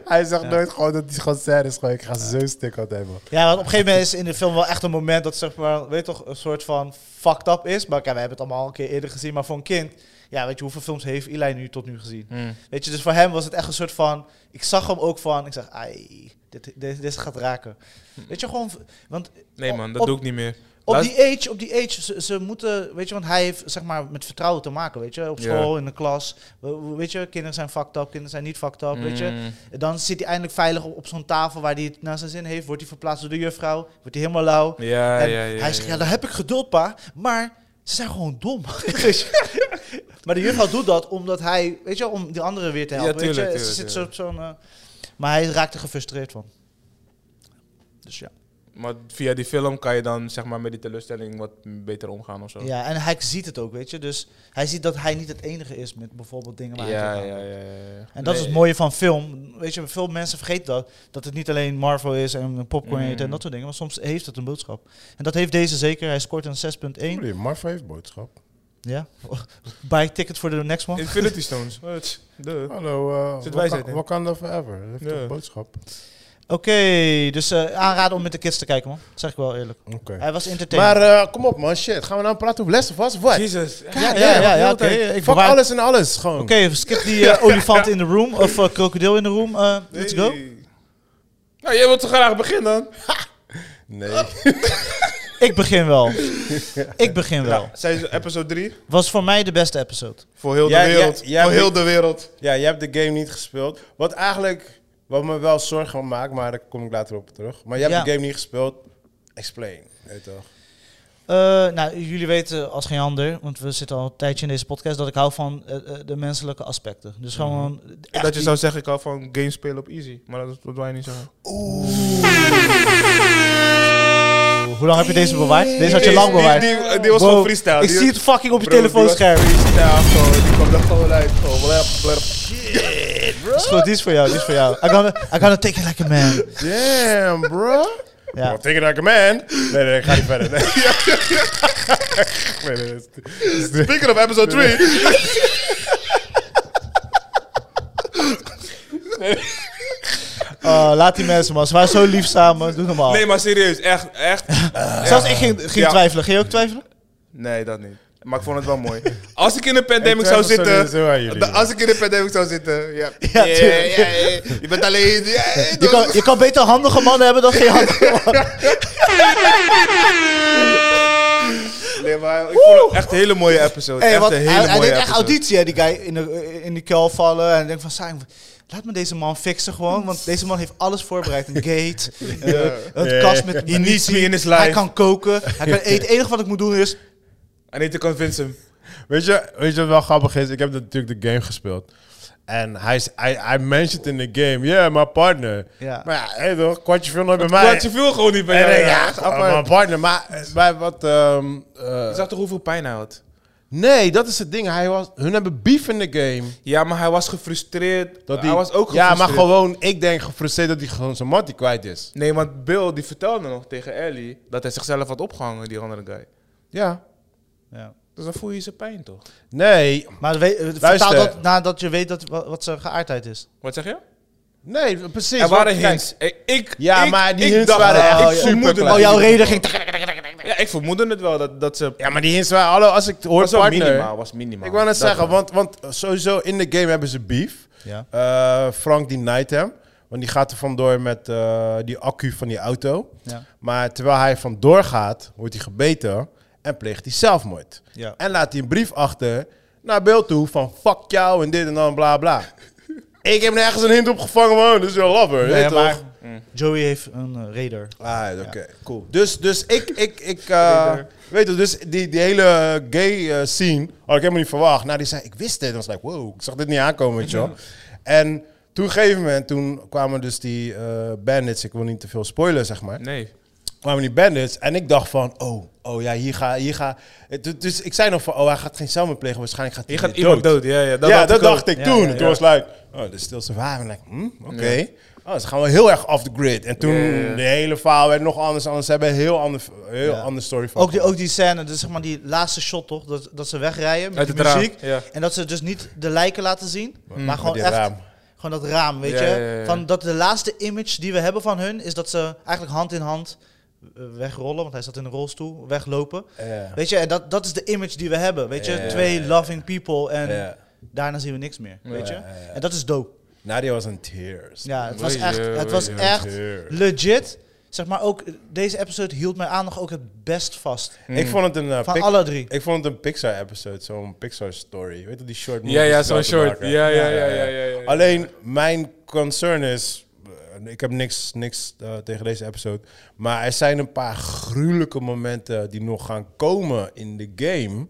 Hij zegt nooit gewoon dat hij gewoon sad is. Gewoon, ik ga zo stuk altijd, man.
Ja, want op een gegeven moment is in de film wel echt een moment dat zeg maar, weet je toch, een soort van fucked up is. Maar kijk, we hebben het allemaal al een keer eerder gezien. Maar voor een kind, ja, weet je, hoeveel films heeft Eli nu tot nu gezien? Weet je, dus voor hem was het echt een soort van, ik zag hem ook van, ik zeg, ai, dit, dit, dit gaat raken.
Hm.
Weet je, gewoon, v- want
Nee man, dat
Op-
doe ik niet meer.
op
Laatst-
die age, op die age, ze, ze moeten, weet je, want hij heeft zeg maar met vertrouwen te maken, weet je, op
Ja.
school, in de klas, We- weet je, kinderen zijn fucked up, kinderen zijn niet fucked up, weet je.
Mm.
Dan zit hij eindelijk veilig op, op zo'n tafel waar hij het naar zijn zin heeft, wordt hij verplaatst door de juffrouw, wordt hij helemaal lauw.
Ja,
En
ja, ja.
hij zegt, ja, daar heb ik geduld, pa. Maar ze zijn gewoon dom. *laughs* Weet je? maar de juffrouw doet dat omdat hij, weet je, wel, om die anderen weer te
Ja,
helpen. weet
tuurlijk,
je?
tuurlijk,
ze zit zo,
tuurlijk.
zo'n, eh, maar hij raakt er gefrustreerd van. Dus ja.
Maar via die film kan je dan zeg maar met die teleurstelling wat beter omgaan of zo.
ja. En hij ziet het ook, weet je. Dus hij ziet dat hij niet het enige is met bijvoorbeeld dingen waar hij
ja,
tegenaan
ja,
loopt.
ja, ja, ja.
En dat is
Nee,
het mooie van film. Weet je, veel mensen vergeten dat. Dat het niet alleen Marvel is en popcorn eten en
Mm.
dat soort dingen. Maar soms heeft het een boodschap. En dat heeft deze zeker. Hij scoort een 6.1.
Oei, Marv heeft boodschap.
Ja. *laughs* Buy ticket for the next one.
Infinity Stones. Wat? Duh.
Hallo, eh
Zit
Waka-
wijsheid in?
Wakanda Forever. Dat heeft
Ja.
toch boodschap?
Oké, dus eh, aanraden om met de kids te kijken, man. Dat zeg ik wel eerlijk.
Oké.
Hij was entertainend.
Maar eh, kom op, man. Shit. Gaan we nou praten over Les of Us? Wat?
Jezus.
ja, ja, ja, ja, oké. Ik
Ik fuck
bewaar-
alles en alles, gewoon.
Oké, skip
*laughs*
die eh, olifant in de room of eh, krokodil in de room. Eh, let's go.
Nou, jij wilt zo graag beginnen dan?
Nee.
Ik begin
*laughs*
wel. ik begin wel.
Zijn ze episode 3?
Was voor mij de beste episode.
Voor heel de
Ja, ja,
wereld.
ja,
voor
maar-
heel de wereld.
Ja, je hebt de game niet gespeeld. Wat eigenlijk, wat me wel zorgen maakt, maar daar kom ik later op terug. Maar je hebt
Ja.
de game niet gespeeld. Explain. Nee, toch?
Eh, nou, jullie weten als geen ander, want we zitten al een tijdje in deze podcast, dat ik hou van eh, eh, de menselijke aspecten. Dus
Mhm.
gewoon. echt
Dat je
die-
zou zeggen, ik hou van games spelen op easy. Maar dat, dat wil je niet zeggen.
Hoe lang heb je deze bewaard? Deze had je
Die-
lang
die-
bewaard.
Die, die was
Wow,
gewoon freestyle.
Ik
Die-
zie het fucking op je
Bro, die was
telefoonscherm.
Freestyle gewoon. Die kwam er gewoon uit. Gewoon blep, blep.
Is goed, die is voor jou, die is voor jou. I gotta, I gotta take it like a man.
Damn, bro.
Ja.
Well, take it like a man. Nee, nee, ik ga niet verder. *laughs* Nee. Nee, nee, dat is-
Speaking of episode 3.
Oh, laat die mensen, man. Ze waren zo lief samen. Doe normaal.
Nee, maar serieus. Echt, *laughs* echt.
Zelfs ik ging, ging
Ja.
twijfelen. Ging je ook twijfelen?
Nee, dat niet. Maar ik vond het wel *laughs* mooi. Als ik in de pandemic
Ik
zou
twijfel
zitten...
sowieso aan jullie,
Da-
man.
Als ik in de pandemic zou zitten. Ja,
Ja, tuurlijk.
ja, ja. Je bent alleen. Ja, ja,
Je kan, je kan beter
*laughs*
handige mannen hebben dan geen handige mannen.
Nee, maar ik vond het echt een hele mooie episode.
Hey,
echt
wat,
een hele
hij, hij
mooie
deed echt
episode.
auditie, hè, die guy in de, in de kuil vallen. En denk van, Saim, laat me deze man fixen gewoon. Want deze man heeft alles voorbereid. Een
*laughs*
gate, eh, een kast met
He needs me in his
Hij
life.
kan koken,
*laughs*
hij kan eten. Het enige wat ik moet doen is...
I need to convince him.
Weet je, weet je wat wel grappig is? Ik heb natuurlijk de game gespeeld. En hij, is- hij, hij mentioned in the game, yeah, my partner.
Ja.
Maar ja, hey, toch, kwartje veel nooit bij mij.
Maar je viel gewoon niet bij
En
jou.
ik denk,
ja.
ja,
Apart.
gewoon mijn partner. Maar eh, bij wat... ehm, eh,
Je zag toch hoeveel pijn hij had?
nee, dat is het ding. Hij was, hun hebben beef in de game.
Ja, maar hij was gefrustreerd.
Dat die,
hij was ook gefrustreerd.
Ja, maar gewoon, ik denk gefrustreerd dat hij gewoon zijn mattie kwijt is.
Nee, want Bill die vertelde nog tegen Ellie dat hij zichzelf had opgehangen, die andere guy.
Ja.
Ja.
Dus dan voel je zijn pijn toch?
Nee,
Maar we, eh, vertaal
Luister.
dat nadat je weet dat, wat, wat zijn geaardheid is.
Wat zeg je?
nee, precies.
Er waren
want kijk,
hints. Ik, ik,
Ja,
ik-
maar die
ik
hints
dacht-
waren
ik
echt
vermoedde
super klein.
het.
Oh, jouw reden ging...
Ja, ik vermoedde het wel dat, dat ze...
Ja, maar die hints waren... Hallo, als ik hoor
was wel
partner...
minimaal, was minimaal.
Ik wou net
Dat
zeggen,
wel.
want, want sowieso in de game hebben ze beef.
Ja.
Eh, Frank die night hem. Want die gaat er vandoor met eh, die accu van die auto.
Ja.
Maar terwijl hij vandoor gaat, wordt hij gebeten en pleegt hij zelfmoord.
Ja.
En laat hij een brief achter naar Bill toe van fuck jou en dit en dan bla bla. ik heb nergens een hint op gevangen, man. Dus je lover.
Nee,
weet je
maar
toch?
Joey heeft een eh, raider.
Ah, oké. Cool. Dus, dus ik,
*laughs*
ik, ik eh, weet je, dus die, die hele gay eh, scene had ik helemaal niet verwacht. Nou, die zei, ik wist dit. En was like, wow, ik zag dit niet aankomen, weet je
*laughs*
wel. En toen, op een gegeven moment, toen kwamen dus die eh, bandits, ik wil niet te veel spoilen, zeg maar
Nee.
kwamen die bandits en ik dacht van, oh, oh ja, hier ga, hier ga. Het- Dus ik zei nog van, oh, hij gaat geen zelfmoord plegen, waarschijnlijk gaat hij
Je gaat
weer dood.
iemand dood. Ja, ja, dat
ja,
dacht
dat
ik ook.
dacht ik
Ja,
toen.
ja, ja.
Toen was het like, oh, de stil survivor. Like, hmm, oké. Oh, ze gaan wel heel erg off the grid. En toen,
Ja, ja, ja.
de hele verhaal werd nog anders. Anders hebben een heel ander, heel
Ja.
ander story van.
Ook die,
gemaakt.
ook die scène, dus zeg maar die laatste shot toch, dat, dat ze wegrijden met
Uit
de,
het raam,
muziek.
ja.
En dat ze dus niet de lijken laten zien, maar gewoon
Mm. die
echt
raam.
gewoon dat raam, weet
Ja,
je.
ja, ja.
Van dat de laatste image die we hebben van hun is dat ze eigenlijk hand in hand eh, wegrollen, want hij zat in een rolstoel, weglopen.
Ja.
Weet je, en dat, dat is de image die we hebben, weet je.
Ja, ja,
Twee loving people en
Ja.
daarna zien we niks meer, weet je.
ja, ja.
En dat is dope.
Nadia was in tears.
Ja, het
Weet
was
je,
echt, het
weet
was
je.
echt
Tears.
legit. Zeg maar ook, eh, deze episode hield mij aan nog ook het best vast.
Ik vond het een... eh,
Van
Pic-
alle drie.
Ik vond het een Pixar-episode, zo'n Pixar-story. Weet je, die short
Ja, ja,
movies
zo'n
die ze laten
short.
maken.
Ja, ja, ja, ja, ja, ja.
Alleen mijn concern is. eh, Ik heb niks, niks eh, tegen deze episode. Maar er zijn een paar gruwelijke momenten die nog gaan komen in de game.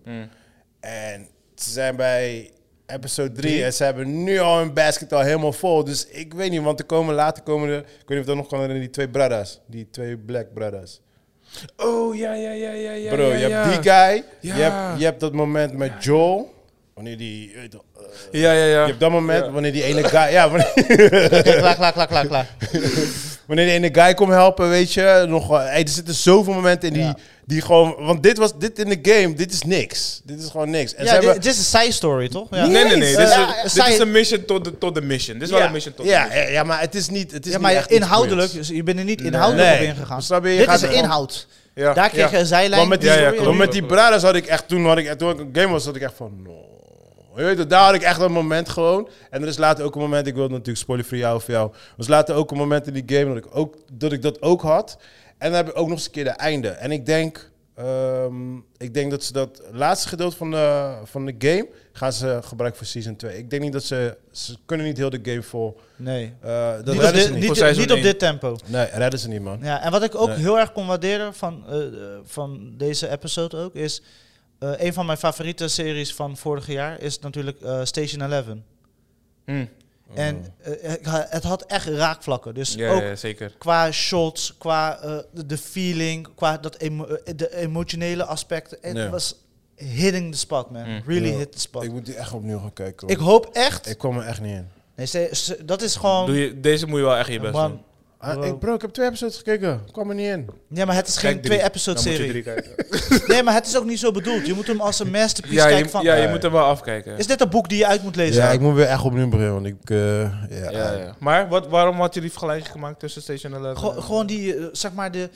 En ze zijn bij episode 3 en ze hebben nu al hun basket al helemaal vol. Dus ik weet niet, want er komen later komen er. Ik weet niet of dat nog kan herinneren, die twee brothers. Die twee black brothers.
Oh, ja, ja, ja, ja, ja.
Bro,
ja, ja.
je hebt die guy.
Ja.
Je, hebt, je hebt dat moment met Joel. Wanneer die. je weet toch, eh,
Ja, ja, ja.
je hebt dat moment wanneer die ene guy. Ja, wanneer,
Oké, klaar, klaar, klaar, klaar, klaar.
*laughs* Wanneer die ene guy komt helpen, weet je. Nog, eh, hey, er zitten zoveel momenten in die,
Ja.
die gewoon... Want dit was dit in de game, dit is niks. Dit is gewoon niks. En
Ja,
ze
dit,
hebben-
dit is een side story, toch? Ja.
Nee, nee, nee. Dit is,
Eh,
een, dit
side-
is een mission tot de, tot de mission. Dit is wel
ja,
een mission tot de
ja,
mission.
ja, ja, maar het is niet... Het is
ja,
niet echt
maar
iets
inhoudelijk,
boeiends.
dus je bent er niet inhoudelijk
Nee.
op ingegaan.
Dus
Snap je? Je
Dit
gaat
is de
er gewoon-
inhoud.
Ja,
Daar kreeg
ja.
je een zijlijn.
Want met die,
Ja, ja,
want
klopt.
met die brothers had ik echt... Toen, had ik, toen ik een game was, had ik echt van... No. Je weet het, daar had ik echt een moment gewoon. En er is later ook een moment, ik wil het natuurlijk spoilen voor jou of voor jou. Er is later ook een moment in die game dat ik, ook, dat, ik dat ook had. En dan heb ik ook nog eens een keer de einde. En ik denk, ehm, ik denk dat ze dat laatste gedeelte van de, van de game gaan ze gebruiken voor season 2. Ik denk niet dat ze, ze kunnen niet heel de game vol.
Nee.
eh, dat
Niet op,
redden
dit,
ze niet.
niet-
Voor seizoen
niet op
één.
dit tempo.
Nee, redden ze niet man.
Ja, en wat ik ook
Nee.
heel erg kon waarderen van, eh, eh, van deze episode ook, is... eh, een van mijn favoriete series van vorig jaar is natuurlijk eh, Station Eleven.
Hm.
En eh, ik ha- het had echt raakvlakken. Dus
Ja,
ook
ja, zeker.
qua shots, qua eh, de- de feeling, qua dat emo- eh, de emotionele aspect. Het
Ja.
was hitting the spot, man.
Mm.
Really
Ja.
hit the spot.
Ik
Ik,
moet die echt opnieuw gaan kijken. hoor.
hoop echt...
ik kwam er echt niet in.
nee, ze- ze- dat is gewoon...
Doe je, deze moet je wel echt je best
man,
doen.
Ah,
Wow.
ik, bro, ik heb twee episodes gekeken. Kwam er niet in.
ja, maar het is geen
Kijk drie. Dan moet je
twee-episode-serie.
drie kijken.
Nee, maar het is ook niet zo bedoeld. Je moet hem als een masterpiece
*laughs* Ja,
kijken
je,
van...
ja, je moet er wel afkijken.
Is dit een boek die je uit moet lezen?
Ja, ik moet weer echt opnieuw beginnen, want ik... eh, ja,
Ja, ja. Maar wat, waarom had je die vergelijking gemaakt tussen Station Eleven?
Gew-
en-
gewoon die, eh, zeg maar, de,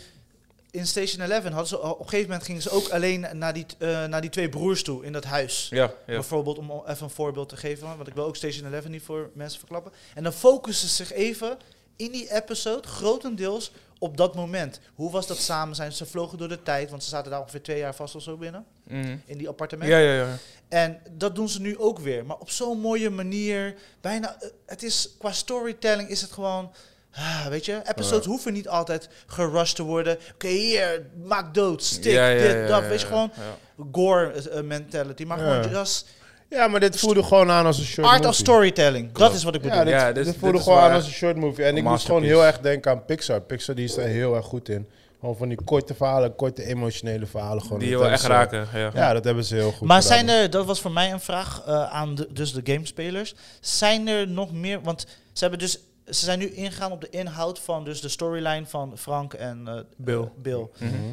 in Station Eleven hadden ze... Op een gegeven moment gingen ze ook alleen naar die, t- eh, naar die twee broers toe in dat huis.
Ja, ja.
Bijvoorbeeld, om al even een voorbeeld te geven, want ik wil ook Station 11 niet voor mensen verklappen. En dan focussen ze zich even in die episode grotendeels op dat moment. Hoe was dat samen zijn? Ze vlogen door de tijd, want ze zaten daar ongeveer twee jaar vast of zo binnen.
Mhm.
In die appartementen.
Ja, ja, ja.
En dat doen ze nu ook weer. Maar op zo'n mooie manier. Bijna, eh, het is, qua storytelling is het gewoon... ah, weet je, episodes hoeven niet altijd gerushed te worden. Oké, hier, maak dood, stik,
ja, ja,
dit,
ja,
dat.
ja,
Weet je,
ja,
gewoon
ja.
gore eh, mentality. Maar gewoon just
Ja, maar dit voelde gewoon aan als een short
art
movie.
of storytelling. Dat is wat ik bedoel.
Ja, dit,
Ja,
dit,
dit-
voelde
dit is
gewoon aan
wel
als een short movie. En ik moest gewoon
masterpiece.
heel erg denken aan Pixar. Pixar die is daar heel erg goed in. Gewoon van die korte verhalen, korte emotionele verhalen. Gewoon.
Die
Dat
je wel echt
hebben ze-
raken. eh, Ja.
Ja, dat hebben ze heel goed
maar
gedaan.
zijn er, dat was voor mij een vraag eh, aan de, dus de gamespelers. Zijn er nog meer, want ze hebben dus, ze zijn nu ingegaan op de inhoud van dus de storyline van Frank en eh,
Bill.
Bill.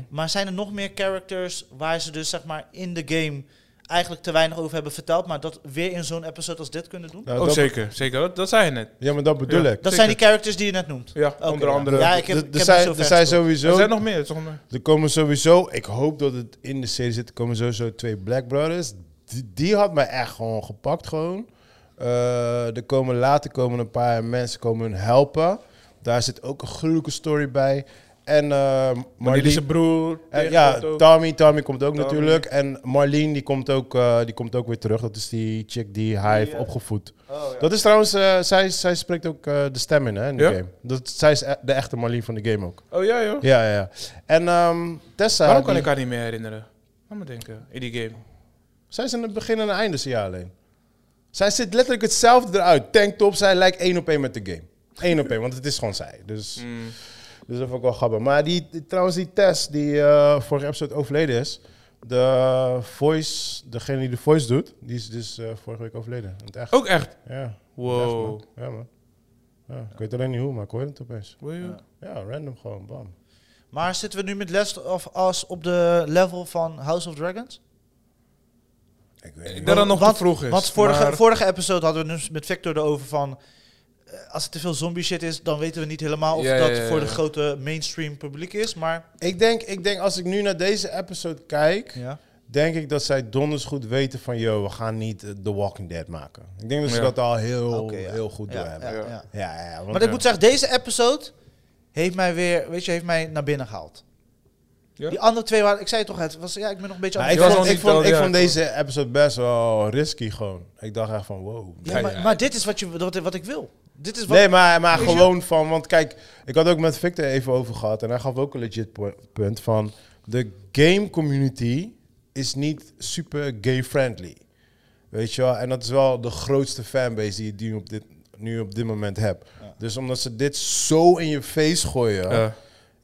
Maar zijn er nog meer characters waar ze dus zeg maar in de game eigenlijk te weinig over hebben verteld, maar dat weer in zo'n episode als dit kunnen doen?
Nou,
Oh,
dat-
zeker. Zeker. Dat, dat zei je net.
Ja, maar dat bedoel
Ja.
ik.
Dat zijn die characters die je net noemt.
Ja,
Oké,
onder
ja.
andere.
Ja, ik heb,
Er-
ik
er
heb
zijn,
niet zo
er
ver
zijn
gespeeld.
Er
sowieso...
zijn nog meer, toch? Maar-
Er komen sowieso... Ik hoop dat het in de serie zit. Er komen sowieso twee Black Brothers. Die, die had mij echt gewoon gepakt gewoon. Eh, er komen later komen een paar mensen komen hun helpen. Daar zit ook een gruwelijke story bij. En eh
Maar die Eh,
Marlene-
is zijn broer.
En ja,
tegenwoordig ook.
Tommy, Tommy komt ook
Tommy.
natuurlijk. En Marleen die komt, ook, eh, die komt ook weer terug. Dat is die chick die hij heeft opgevoed.
Oh,
Dat is trouwens, eh, zij, zij spreekt ook eh, de stem in, hè, in de
Ja?
game. Dat, zij is e- de echte Marleen van de game ook.
Oh ja, joh.
Ja, ja, ja. En ehm, Tessa,
Waarom kan
die-
ik haar niet meer herinneren? Laat me denken. In die game.
zij is aan het begin en het einde, zie je alleen. Zij zit letterlijk hetzelfde eruit. Tanktop, zij lijkt één op één met de game. Eén op één, want het is gewoon zij. Dus,
Mm.
Mm.
dus dat vond ik wel grappig. Maar die, die- trouwens, die Tess, die eh vorige episode overleden is... De voice, degene die de voice doet, die is dus eh, vorige week overleden. In het echt.
Ook echt.
Ja,
Oh. Wow.
echt, man. Ja, man. Ja, ik weet alleen niet hoe, maar ik hoorde het opeens.
Wil je-
Ja, random gewoon, bam.
Maar zitten we nu met Last of Us op de level van House of Dragons?
Ik weet
Ik denk dat het nog te vroeg is.
Want vorige,
maar-
vorige episode hadden we dus met Victor erover van... eh, Als het te veel zombie shit is, dan weten we niet helemaal of
Ja,
dat
ja, ja,
voor de
ja.
grote mainstream publiek is. Maar
Ik denk, ik denk, als ik nu naar deze episode kijk...
ja.
denk ik dat zij donders goed weten van... ...joh, we gaan niet eh, The Walking Dead maken. Ik denk dat ze
Ja.
dat al heel,
Oké, ja.
heel goed
Ja,
door hebben.
ja,
Ja,
ja.
ja. ja, want- eh,
Maar ik moet zeggen, deze episode heeft mij weer, weet je, heeft mij naar binnen gehaald.
Ja?
Die andere twee waren, ik zei het toch, het was, ja, ik ben nog een beetje
Maar
aan
ik
het
was nog
vond, ik,
niet
vond,
dood,
ik
ja,
vond deze episode best wel risky gewoon. Ik dacht echt van wow.
ja, maar, maar dit is wat, je, wat, wat ik wil. Dit is wat
Nee, maar, maar
Weet je-
gewoon van... Want kijk, ik had ook met Victor even over gehad... ...en hij gaf ook een legit po- punt van... ...de game community is niet super gay-friendly. Weet je wel? En dat is wel de grootste fanbase die je die op dit, nu op dit moment hebt. Dus omdat ze dit zo in je face gooien...
Ja.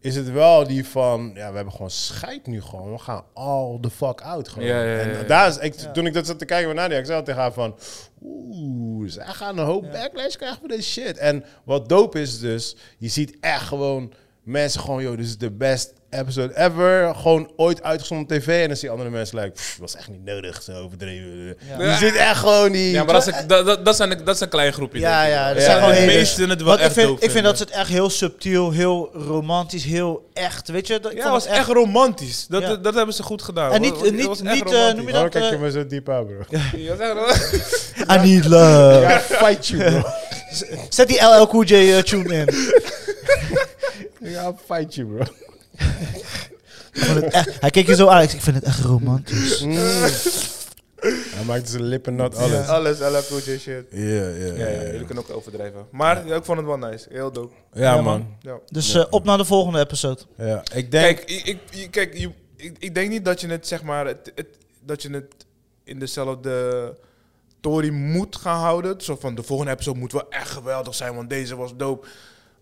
Is het wel die van, ja, we hebben gewoon scheid nu gewoon. We gaan all the fuck out gewoon.
Ja, ja, ja,
En
ja.
daar is, ik, toen ik dat zat te kijken met Nadia, ik zei al tegen haar van... Oeh, zij gaan een hoop backlash krijgen voor deze shit. En wat dope is dus, je ziet echt gewoon mensen gewoon... Yo, dit is de best episode ever. Gewoon ooit uitgezonden op tv. En dan zie je andere mensen like, "Pff, was echt niet nodig, zo overdreven. Je ziet echt gewoon die...
Ja, maar dat is, een, dat, dat, dat, zijn, dat is een klein groepje.
eh, Ja,
denk ik.
ja, dat
Ik
zijn
denk
gewoon
de
hele-
meesten het wel
Want
echt
ik vind,
dope
ik vind
vinden.
dat ze het echt heel subtiel, heel romantisch, heel echt, weet je. Dat, ik
Ja,
vond
was
het
echt romantisch. Dat,
Ja.
dat hebben ze goed gedaan.
En niet-
Dat was-
niet-
dat was echt
niet, eh,
romantisch.
noem je
Waarom
dat,
kijk je
eh,
me zo diep aan, bro?
Ja, dat was echt romantisch.
I need love.
Ja, fight you, bro.
Zet die LL Cool J eh, tune in.
*laughs* Ja, fight you, bro.
Ik vond het echt- hij keek je zo aan. Ik vind het echt romantisch.
Mm. Hij maakt zijn lippen nat alles.
Alles, alle cool shit.
Ja, ja,
Ja, ja, jullie kunnen ook overdrijven. Maar ja, ik vond het wel nice. Heel dope.
Ja, man.
Ja.
Dus eh, op naar de volgende episode.
Ja, ik denk...
Kijk, ik, ik, je- kijk je- ik, ik denk niet dat je het, zeg maar, het, het- dat je het in dezelfde tory moet gaan houden. Zo van, de volgende episode moet wel echt geweldig zijn, want deze was dope.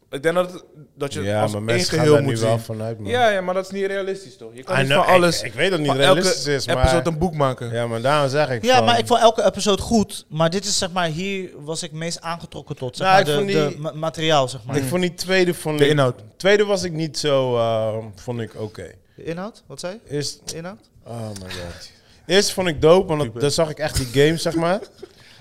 Ik denk dat, het- dat je
ja,
als
maar
één
mensen gaan daar
geheel
nu
moet
wel
zien.
vanuit, man.
Ja, ja, maar dat is niet realistisch, toch? Je kan
I
niet
know,
van alles,
Ik, ik weet dat het niet
van elke
realistisch is, maar...
episode een boek maken.
Ja, maar daarom zeg ik
Ja,
van-
maar ik vond elke episode goed. Maar dit is zeg maar, hier was ik meest aangetrokken tot. Zeg
Nou,
maar,
ik
de,
vond die-
de ma- materiaal, zeg maar.
Ik vond die tweede... Vond
De
ik-
inhoud.
Tweede was ik niet zo... eh, vond ik oké.
De inhoud? Wat zei je?
Eerst...
De inhoud?
Oh my god. Eerst vond ik dope, want dat- daar zag ik echt die game, zeg
*laughs*
maar.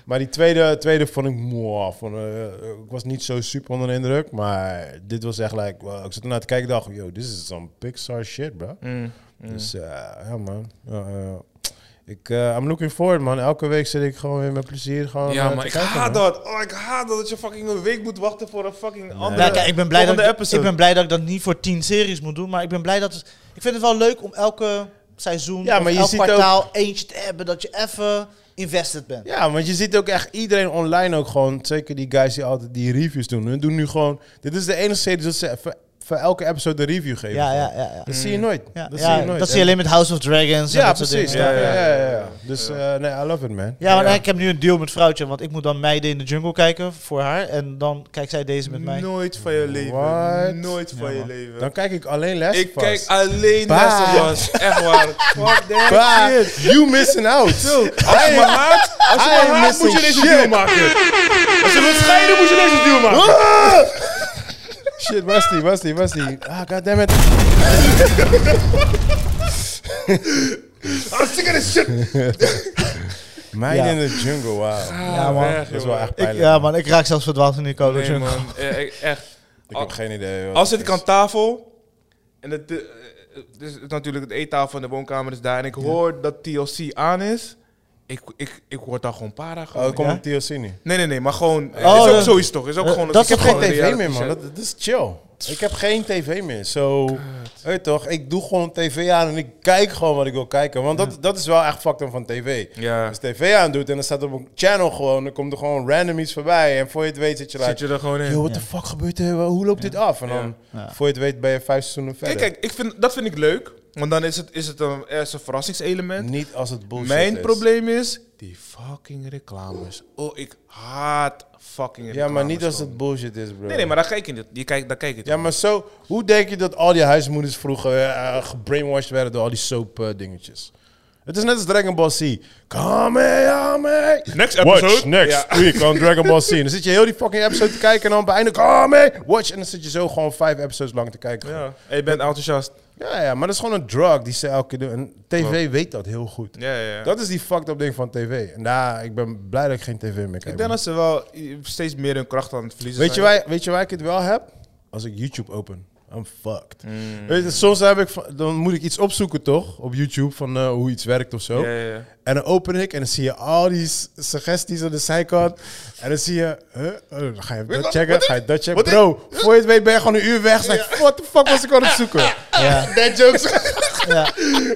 Maar die tweede, tweede vond ik mooi. Vond, eh, ik was niet zo super onder de indruk, maar dit was echt like... wow, ik zat ernaar te kijken en dacht, yo, this is some Pixar shit, bro.
Mm.
Dus eh, ja, man. Ja, ja, ja. Ik, eh, I'm looking forward, man. Elke week zit ik gewoon weer met plezier. Gewoon,
Ja,
eh,
maar
te
ik
kijken,
haat
man.
dat. Oh, ik haat dat, dat je fucking een week moet wachten voor een fucking andere...
Ja, Nou, kijk, ik ben, blij dat
volgende
ik,
episode.
ik ben blij dat ik dat niet voor tien series moet doen. Maar ik ben blij dat... Ik vind het wel leuk om elke seizoen,
Ja,
of
maar je
elk
ziet ook-
kwartaal eentje te hebben. Dat je even invested bent.
Ja, want je ziet ook echt iedereen online ook gewoon. Zeker die guys die altijd die reviews doen. Hun doen nu gewoon... Dit is de enige serie dat ze voor, voor elke episode een review geven.
Ja, ja, ja. ja.
Dat
Mm.
zie je nooit.
Ja,
dat
ja,
zie je nooit. En-
alleen met House of Dragons. en
Ja,
dat soort
precies.
dingen.
Ja, ja,
Ja,
ja, ja. Dus eh, nee, I love it, man.
Ja, want ik heb nu een deal met vrouwtje, want ik moet dan meiden in de jungle kijken voor haar. En dan kijkt zij deze met mij.
Nooit van je leven.
What?
Nooit van je
man.
leven.
Dan kijk ik alleen les.
Ik kijk alleen
Bye.
Last of Us. Echt waar. Fuck that.
You missing out.
Als je me haat, als je
I
me
am
haat moet je
missing
deze
shit.
deal maken. Als je wilt scheiden, moet je deze deal maken.
Ah! Shit, was die, was die, was die. Ah, goddammit.
Ah, stick this shit.
Mijn
Ja.
in de jungle, wauw.
Ja, man.
Dat is wel echt
Ik,
pijnlijk.
ja, man, ik raak zelfs verdwaald in die koude
Nee,
jungle.
man. Eh, ik- Echt.
Ik heb geen idee. wat
Als
het
zit ik
is.
aan tafel. En het, eh, eh, het is natuurlijk het eettafel in de woonkamer is daar. En ik hoor dat TLC aan is. Ik, ik, ik word daar gewoon para.
Oh,
Gewoon.
ik kom
Ja?
op TLC nu.
Nee, nee, nee. Maar gewoon. eh,
Oh,
is ook
eh,
zoiets toch? Is ook
eh,
gewoon.
dat
Ik heb
is
geen
gewoon
tv meer,
reality
man.
check.
Dat, dat is chill. Ik heb geen tv meer. Zo, weet je toch? Ik doe gewoon tv aan en ik kijk gewoon wat ik wil kijken. Want dat, dat is wel echt fucked up van tv.
Ja.
Als je tv aandoet en dan staat op een channel gewoon, dan komt er gewoon random iets voorbij. En voor je het weet zit je
Zit
like,
je er gewoon in?
yo, what the fuck gebeurt er? Hoe loopt dit af? En dan,
Ja.
voor je het weet, ben je vijf seizoenen
Kijk,
verder.
kijk ik vind, dat vind ik leuk. Want dan is het, is het een, er is een verrassingselement.
Niet als het bullshit
Mijn
is.
probleem is die fucking reclames. Oh, ik haat fucking
Ja,
reclames.
maar niet als
man.
het bullshit is, bro.
Nee, nee, maar daar kijk je niet. Je kijkt, daar kijk je
Ja, maar zo... Hoe denk je dat al die huismoeders vroeger eh, gebrainwashed werden door al die soap eh, dingetjes? Het is net als Dragon Ball Z. Kamehame!
Next
Watch next week on Dragon Ball Z. Dan zit je heel die fucking episode te kijken en dan op het einde... Kame! Watch! En dan zit je zo gewoon vijf episodes lang te kijken. Ja,
Ja. En je bent enthousiast.
ja, maar dat is gewoon een drug die ze elke keer doen. En tv weet dat heel goed.
Ja, ja, ja.
Dat is die fucked up ding van tv. En daar, ik ben blij dat ik geen tv meer kijk.
ik denk dat ze wel i- steeds meer hun kracht aan het verliezen
Weet je,
zijn.
waar, weet je waar ik het wel heb? Als ik YouTube open. I'm fucked.
Mm.
Weet je, soms heb ik, van- dan moet ik iets opzoeken toch? Op YouTube van eh, hoe iets werkt of zo.
Ja, ja, ja.
En dan open ik en dan zie je al die s- suggesties aan de zijkant. En dan zie je, huh? Oh, dan ga je dat checken, ga je dat checken. Bro, voor je het weet ben je gewoon een uur weg. Zeg, what the fuck was ik aan het zoeken?
*laughs*
*laughs* Ja.
Dead jokes.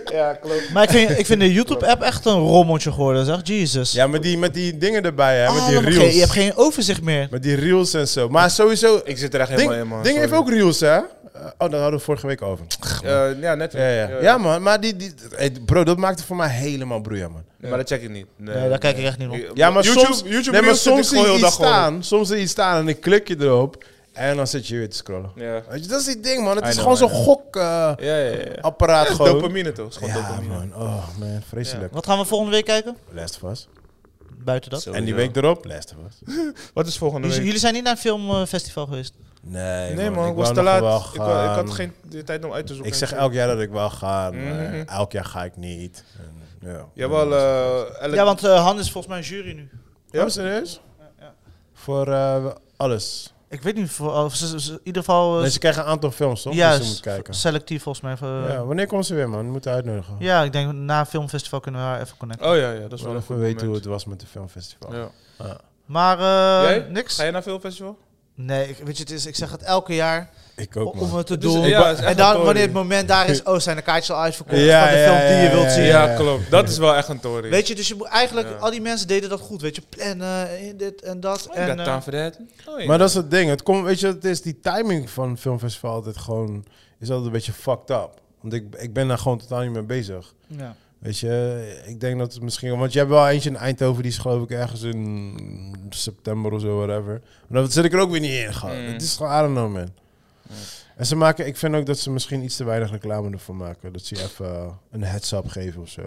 Ja. Maar ik vind, ik vind de YouTube-app echt een rommeltje geworden, zeg. Jesus. Ah,
Ja, maar die, met die dingen erbij, hè, met die
Allemaal geen-
reels.
je hebt geen overzicht meer.
Met die reels en zo. Maar sowieso,
Ik zit er echt
ding,
helemaal in, man.
ding heeft
Sorry.
ook reels, hè? Eh, oh, daar hadden we vorige week over.
Eh, ja, net.
Ja, ja. ja man, maar die, die, hey, bro, dat maakte voor mij helemaal broeia, man.
Maar dat check ik niet. Nee,
Nee, daar kijk ik echt niet op.
Ja, maar
YouTube,
soms,
YouTube
nee, maar
Reels zit
soms
ik
zie
gewoon
je
heel
iets
dag gewoon.
staan, soms zie je iets staan en ik klik je erop en dan zit je weer te scrollen.
Ja.
Weet je, dat is die ding, man. Het
I
is
know,
gewoon
I
zo'n
know.
gokapparaat
Ja, ja, ja.
apparaat
Dat is
gewoon.
dopamine toch? Dat is gewoon
Ja,
dopamine.
man. Oh, man. Vreselijk.
Wat gaan we volgende week kijken?
Last of Us.
Buiten dat.
En die week erop, Last of Us.
Wat is volgende
Jullie
week?
jullie zijn niet naar een filmfestival geweest.
Nee,
Nee, man,
ik
ik was
wou
te
nog wel
laat. Ik, wou- ik had
gaan.
geen de tijd om uit te zoeken.
Ik zeg elk jaar dat ik wel ga. maar
Mhm.
Elk jaar ga ik niet. En, ja.
Jawel, eh Alex-
Ja, want eh, Han is volgens mij een jury nu.
Ja, serieus? Voor eh, alles.
Ik weet niet, voor, of ze- ze- ze- in ieder geval eh,
Nee, ze krijgen een aantal films, toch?
ja,
Dus je moet
s-
kijken.
selectief volgens mij. eh,
Ja,
ja.
wanneer komt ze weer, man? We moeten uitnodigen.
ik denk na een filmfestival kunnen we haar even connecten.
Oh ja, ja, dat is wel
Wel
een
even
goed
weten hoe
moment.
het was met de filmfestival.
Ja.
Maar eh,
Jij?
niks.
Ga je naar veel festival?
Nee, ik, weet je, het is, ik zeg het elke jaar
Ik ook,
om
man.
het te
is-
doen.
ja, het is echt
en dan
een tory.
wanneer het moment
*laughs*
daar is, oh, zijn de kaartjes al uitverkocht
Ja,
van de
ja,
film die
ja,
je
ja,
wilt
ja,
zien.
ja.
Ja, klopt. Dat is wel echt een tory.
Weet je, dus je moet eigenlijk,
Ja.
al die mensen deden dat goed, weet je. Plannen, eh, dit en dat.
Ik
en,
ben
eh,
daar voor dat. Oh, ja.
Maar dat is het ding. Het komt, weet je, het is die timing van een filmfestival altijd gewoon is altijd een beetje fucked up. Want ik, ik ben daar gewoon totaal niet mee bezig.
eh, ja.
Weet je, ik denk dat het misschien... Want je hebt wel eentje in Eindhoven, die is geloof ik ergens in september of zo, whatever. Maar dan zit ik er ook weer niet in, gewoon.
Mm.
Het is gewoon, I don't know, man. En ze maken, ik vind ook dat ze misschien iets te weinig reclame ervoor maken. Dat ze je even eh, een heads-up geven of zo.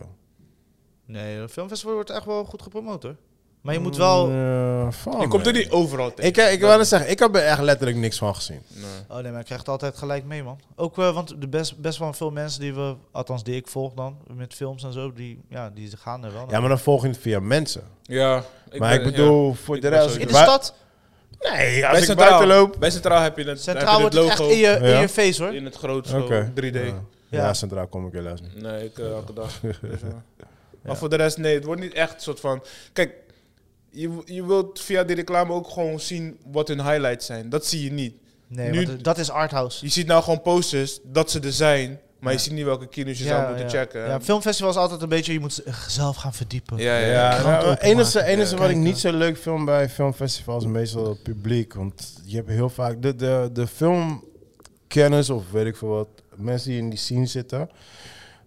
Nee, het filmfestival wordt echt wel goed gepromoot hoor. Maar je moet wel...
Ja, van,
je komt er
Mm, eh, Oh, man.
niet overal tegen.
Ik, ik wil net zeggen, ik heb er echt letterlijk niks van gezien.
Nee.
Oh nee, maar ik krijg het altijd gelijk mee, man. Ook, eh, want de best, best wel veel mensen die we, althans die ik volg dan, met films en zo, die, ja, die gaan er wel naar.
Ja, maar dan volg je het via mensen.
Ja.
maar
ben-
ik bedoel, voor
Ik
de
ben
rest...
zo-
in de
Waar-
stad,
Nee,
Bij
als ik
Centraal.
buiten loop...
Bij Centraal heb je het,
centraal
heb
wordt
je
het
het
echt
logo
in je, in
Ja.
je face hoor.
in het grootste
Oké.
3D.
Ja.
Ja.
Ja, centraal kom ik helaas niet. *laughs*
Nee, ik eh, elke dag. Dus, eh, Maar voor de rest, nee, het wordt niet echt een soort van. Kijk, je, je wilt via die reclame ook gewoon zien wat hun highlights zijn. Dat zie je niet.
Nee,
Nu-
want dat is arthouse.
Je ziet nou gewoon posters dat ze er zijn, maar
Ja.
je ziet niet welke kino's je zou moeten checken.
Ja, filmfestival is altijd een beetje, je moet z- zelf gaan verdiepen.
Ja, ja.
Ja,
krant
nou, het
openmaken.
enige,
eh,
enige wat ik
Kijken.
niet zo leuk vind bij filmfestivals is meestal het publiek. Want je hebt heel vaak de, de, de filmkennis of weet ik veel wat, mensen die in die scene zitten.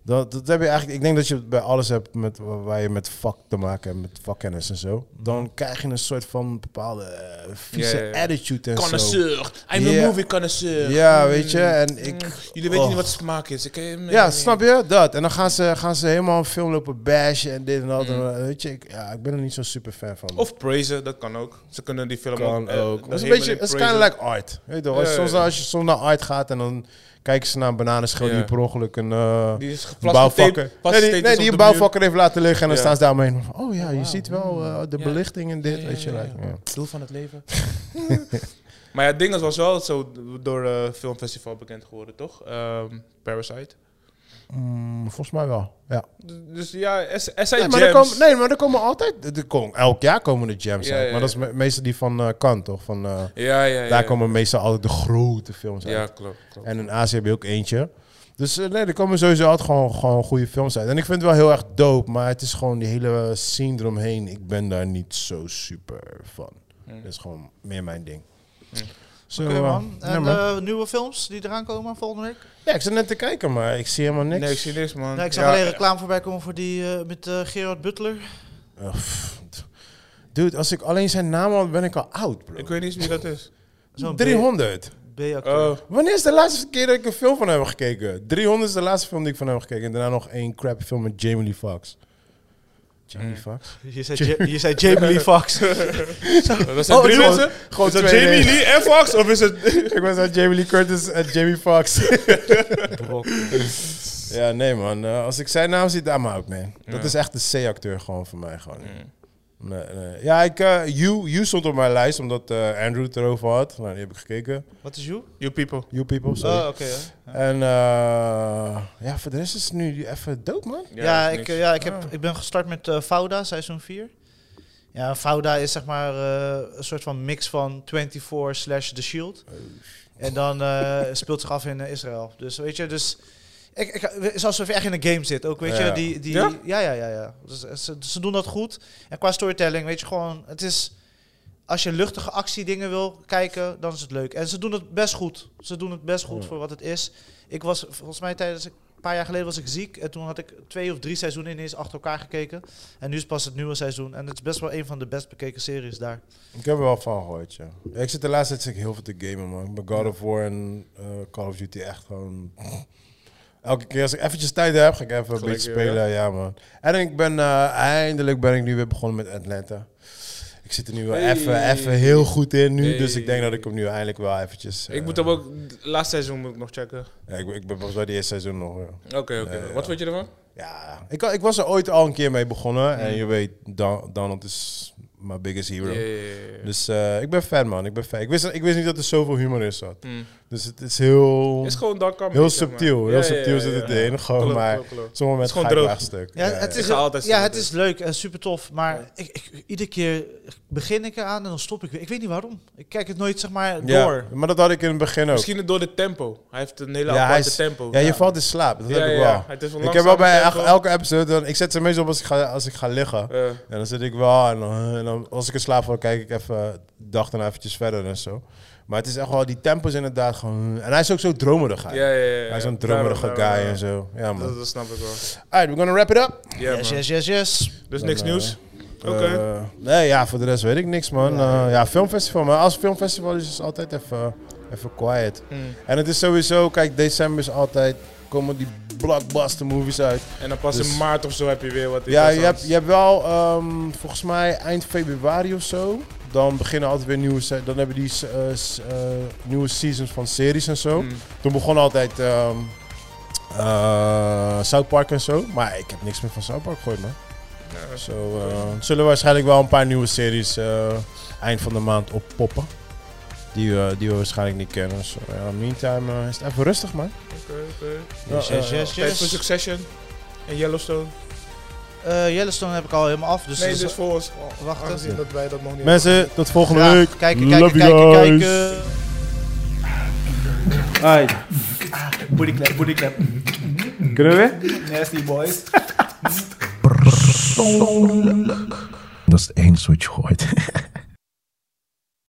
Dat, dat heb je eigenlijk, ik denk dat je het bij alles hebt met, waar waar je met vak te maken hebt, met vakkennis en zo. Dan krijg je een soort van bepaalde eh, vieze
Ja, ja, ja.
attitude en zo.
Connoisseur. I'm
Ja.
a movie connoisseur. Mm.
Ja, weet je, en ik...
Jullie weten
oh.
niet wat smaak is. Ik, eh,
Ja, snap je? Dat. En dan gaan ze, gaan ze helemaal een film lopen bashen en dit en dat. En, eh, weet je, ik, ja, ik ben er niet zo'n super fan van.
Mm. Of praisen, dat kan ook. Ze kunnen die film
kan
eh,
ook.
de
Het is een
hemel
beetje,
in
het is
praisen.
kind of like art. Weet je toch? Als,
Ja,
soms,
ja, ja.
als je soms naar art gaat en dan kijken ze naar een bananenschil die
Ja.
per ongeluk een eh,
Die is
een
geplast met
bouwvakker.
tape,
Nee,
vast
die,
tape
nee,
is
die
op
een
de muur.
bouwvakker heeft laten liggen en dan
Ja.
staan ze daaromheen. van, Oh ja, je
wauw.
ziet wel eh, de
Ja.
belichting en dit. weet je,
Ja, ja,
like,
ja.
ja.
Doel van het leven. maar ja, Dinges was wel zo door eh filmfestival bekend geworden, toch? Ehm, Parasite.
Mm, volgens mij wel. Ja.
D- Dus ja, er, z- er zijn
Nee,
nee,
maar er komen, nee, maar er komen altijd. Er komen, elk jaar komen de jams
Ja,
uit.
ja,
Maar dat is
ja.
me- meestal die van eh Kant, toch? Van, eh,
Ja, ja, ja.
Daar komen meestal altijd de grote films uit.
Ja, klopt. klopt.
En in Azië heb je ook eentje. Dus eh, nee, er komen sowieso altijd gewoon, gewoon goede films uit. En ik vind het wel heel erg dope, maar het is gewoon die hele scene eromheen. Ik ben daar niet zo super van.
Mm.
Dat is gewoon meer mijn ding.
Mm.
Zo,
Oké,
eh,
man.
ja,
En
man.
eh, nieuwe films die eraan komen volgende week?
Ja, ik zat net te kijken, maar ik zie helemaal niks.
Nee, ik zie niks, man.
Nee, ik zag
Ja,
alleen reclame voorbij komen voor die eh, met eh, Gerard Butler.
Eh, pff, Dude, als ik alleen zijn naam had, ben ik al oud, bro.
Ik weet niet eens wie dat
*laughs*
is.
Zo'n
300.
B-acteur.
Oh,
Wanneer is de laatste keer dat ik een film van hem heb gekeken? 300 is de laatste film die ik van hem heb gekeken. En daarna nog één crap film met Jamie Lee Foxx. Jamie
Mm.
Foxx?
Je, zei Ja- je zei Jamie
*laughs*
Lee Foxx.
dat zijn
Oh,
drie
is het
mensen?
Gewoon
Is dat
twee
Jamie
dingen.
Lee en Fox? Of is
*laughs*
het... *laughs*
Ik was aan Jamie Lee Curtis en Jamie Foxx. ja, nee man. Eh, als ik zijn naam zie, daar maar ook man. Dat
Ja.
is echt de C-acteur gewoon voor mij. Gewoon. Nee, nee. Ja, ik, eh you, you stond op mijn lijst omdat eh, Andrew het erover had. Nou, die heb ik gekeken.
Wat is you?
You people.
You people, sorry.
Oh, oké. hè.
En eh, ja, voor de rest is het nu even dood man.
Ja, ik, eh, ja ik, heb, ik ben gestart met eh, Fauda, seizoen 4. Ja, Fauda is zeg maar eh, een soort van mix van 24 slash The Shield. En dan eh, speelt zich af in eh, Israël. Dus weet je, dus... Ik, ik, het is alsof je echt in een game zit. Ook weet
Ja.
je, die... die
Ja?
ja? Ja, ja, ja. Dus, eh, ze, ze doen dat goed. En qua storytelling, weet je, gewoon... Het is... Als je luchtige actiedingen wil kijken, dan is het leuk. En ze doen het best goed. Ze doen het best goed
Ja.
voor wat het is. Ik was volgens mij tijdens een paar jaar geleden was ik ziek en toen had ik twee of drie seizoenen ineens achter elkaar gekeken. En nu is pas het nieuwe seizoen en het is best wel een van de best bekeken series daar.
Ik heb er wel van gehoord, ja. Ja, Ik zit de laatste tijd zit ik heel veel te gamen, man. Ik ben God of War en eh, Call of Duty echt gewoon... Elke keer als ik eventjes tijd heb, ga ik even een
Gelijk
beetje
weer,
spelen. Ja, man. En ik ben eh, eindelijk ben ik nu weer begonnen met Atlanta. Ik zit er nu wel
Hey.
even, even heel goed in nu.
Hey.
Dus ik denk dat ik hem nu eindelijk wel eventjes... eh,
Ik moet hem ook... Laatste seizoen moet ik nog checken.
ja, ik, ik ben pas bij die eerste seizoen nog. ja.
Oké, oké.
Nee,
Wat
ja.
vind je ervan?
Ja, ik, ik was er ooit al een keer mee begonnen. En
Hmm.
je weet, Don- Donald is my biggest hero. Dus eh, ik ben fan, man. Ik ben fan. Ik wist, ik wist niet dat er zoveel humor in zat.
Hmm.
Mm.
Dus het is heel,
Is gewoon dark comedy,
heel
zeg maar.
subtiel.
Ja,
heel
ja,
subtiel
ja,
zit
ja,
het
ja.
in. Gewoon,
Klopt,
maar
klopt, klopt.
sommige
Het is
mensen ga ik
gewoon
wel echt stuk.
Ja, het
Ik
is,
ga altijd dus.
ja,
zeggen
het
dat.
is leuk en super tof, maar ik, ik, iedere keer begin ik eraan en dan stop ik weer. Ik weet niet waarom. Ik kijk het nooit zeg maar
Ja,
door.
maar dat had ik in het begin ook.
Misschien door de tempo. Hij heeft een hele
Ja, hij
aparte
is-
tempo.
ja, je valt in slaap. Dat
Ja,
heb ik
ja,
wel.
ja. Het is een
ik heb wel bij
langzaam tempo.
elke episode... Dan, ik zet ze meestal op als ik ga, als ik ga liggen.
Eh,
En dan zit ik wel... En dan, en dan- als ik in slaap val, kijk ik even... eh, dag daarna eventjes verder en zo. Maar het is echt wel... Die tempo is inderdaad gewoon... En hij is ook zo dromerig.
ja,
Hij,
ja, ja, ja.
hij is zo'n
Daarom,
dromerige
daarom,
guy
ja.
en zo. Ja, man.
Dat, dat snap ik wel.
Alright, we're gonna wrap it up.
Ja,
yes,
man.
yes, yes, yes.
Dus
Dan,
niks
eh,
nieuws. Oké.
Eh, nee, ja, voor de rest weet ik niks, man. Ja, ja filmfestival. Maar als filmfestival is het altijd even, even quiet.
Mm.
En het is sowieso, kijk, december is altijd, komen die blockbuster movies uit.
En dan pas
dus-
in maart of zo heb je weer wat.
Ja, je
interessants.
hebt, je hebt wel, ehm, volgens mij eind februari of zo, dan beginnen altijd weer nieuwe, se- dan hebben die eh, s- eh, nieuwe seasons van series en zo.
Mm.
Toen begon altijd ehm eh, South Park en zo, maar ik heb niks meer van South Park gegooid, man.
Ja.
Zo eh, er zullen waarschijnlijk wel een paar nieuwe series eh, eind van de maand oppoppen. Die, we- die we waarschijnlijk niet kennen. So, ja, meantime eh, is het even rustig, man.
Oké, oké.
Ja,
Yes,
eh,
yes, yes,
Tijd voor
yes.
Succession en Yellowstone.
Eh, Yellowstone heb ik al helemaal af. Dus
Nee,
dat is-
dus voor ons.
Wacht,
Aangezien dat wij dat nog niet
Mensen, tot volgende
graag
week.
kijken,
Love
kijken,
you
kijken,
guys.
kijken.
Hai.
Booty clap, booty clap.
Kunnen we weer?
Nasty boys.
Dat is het enige wat je hoort.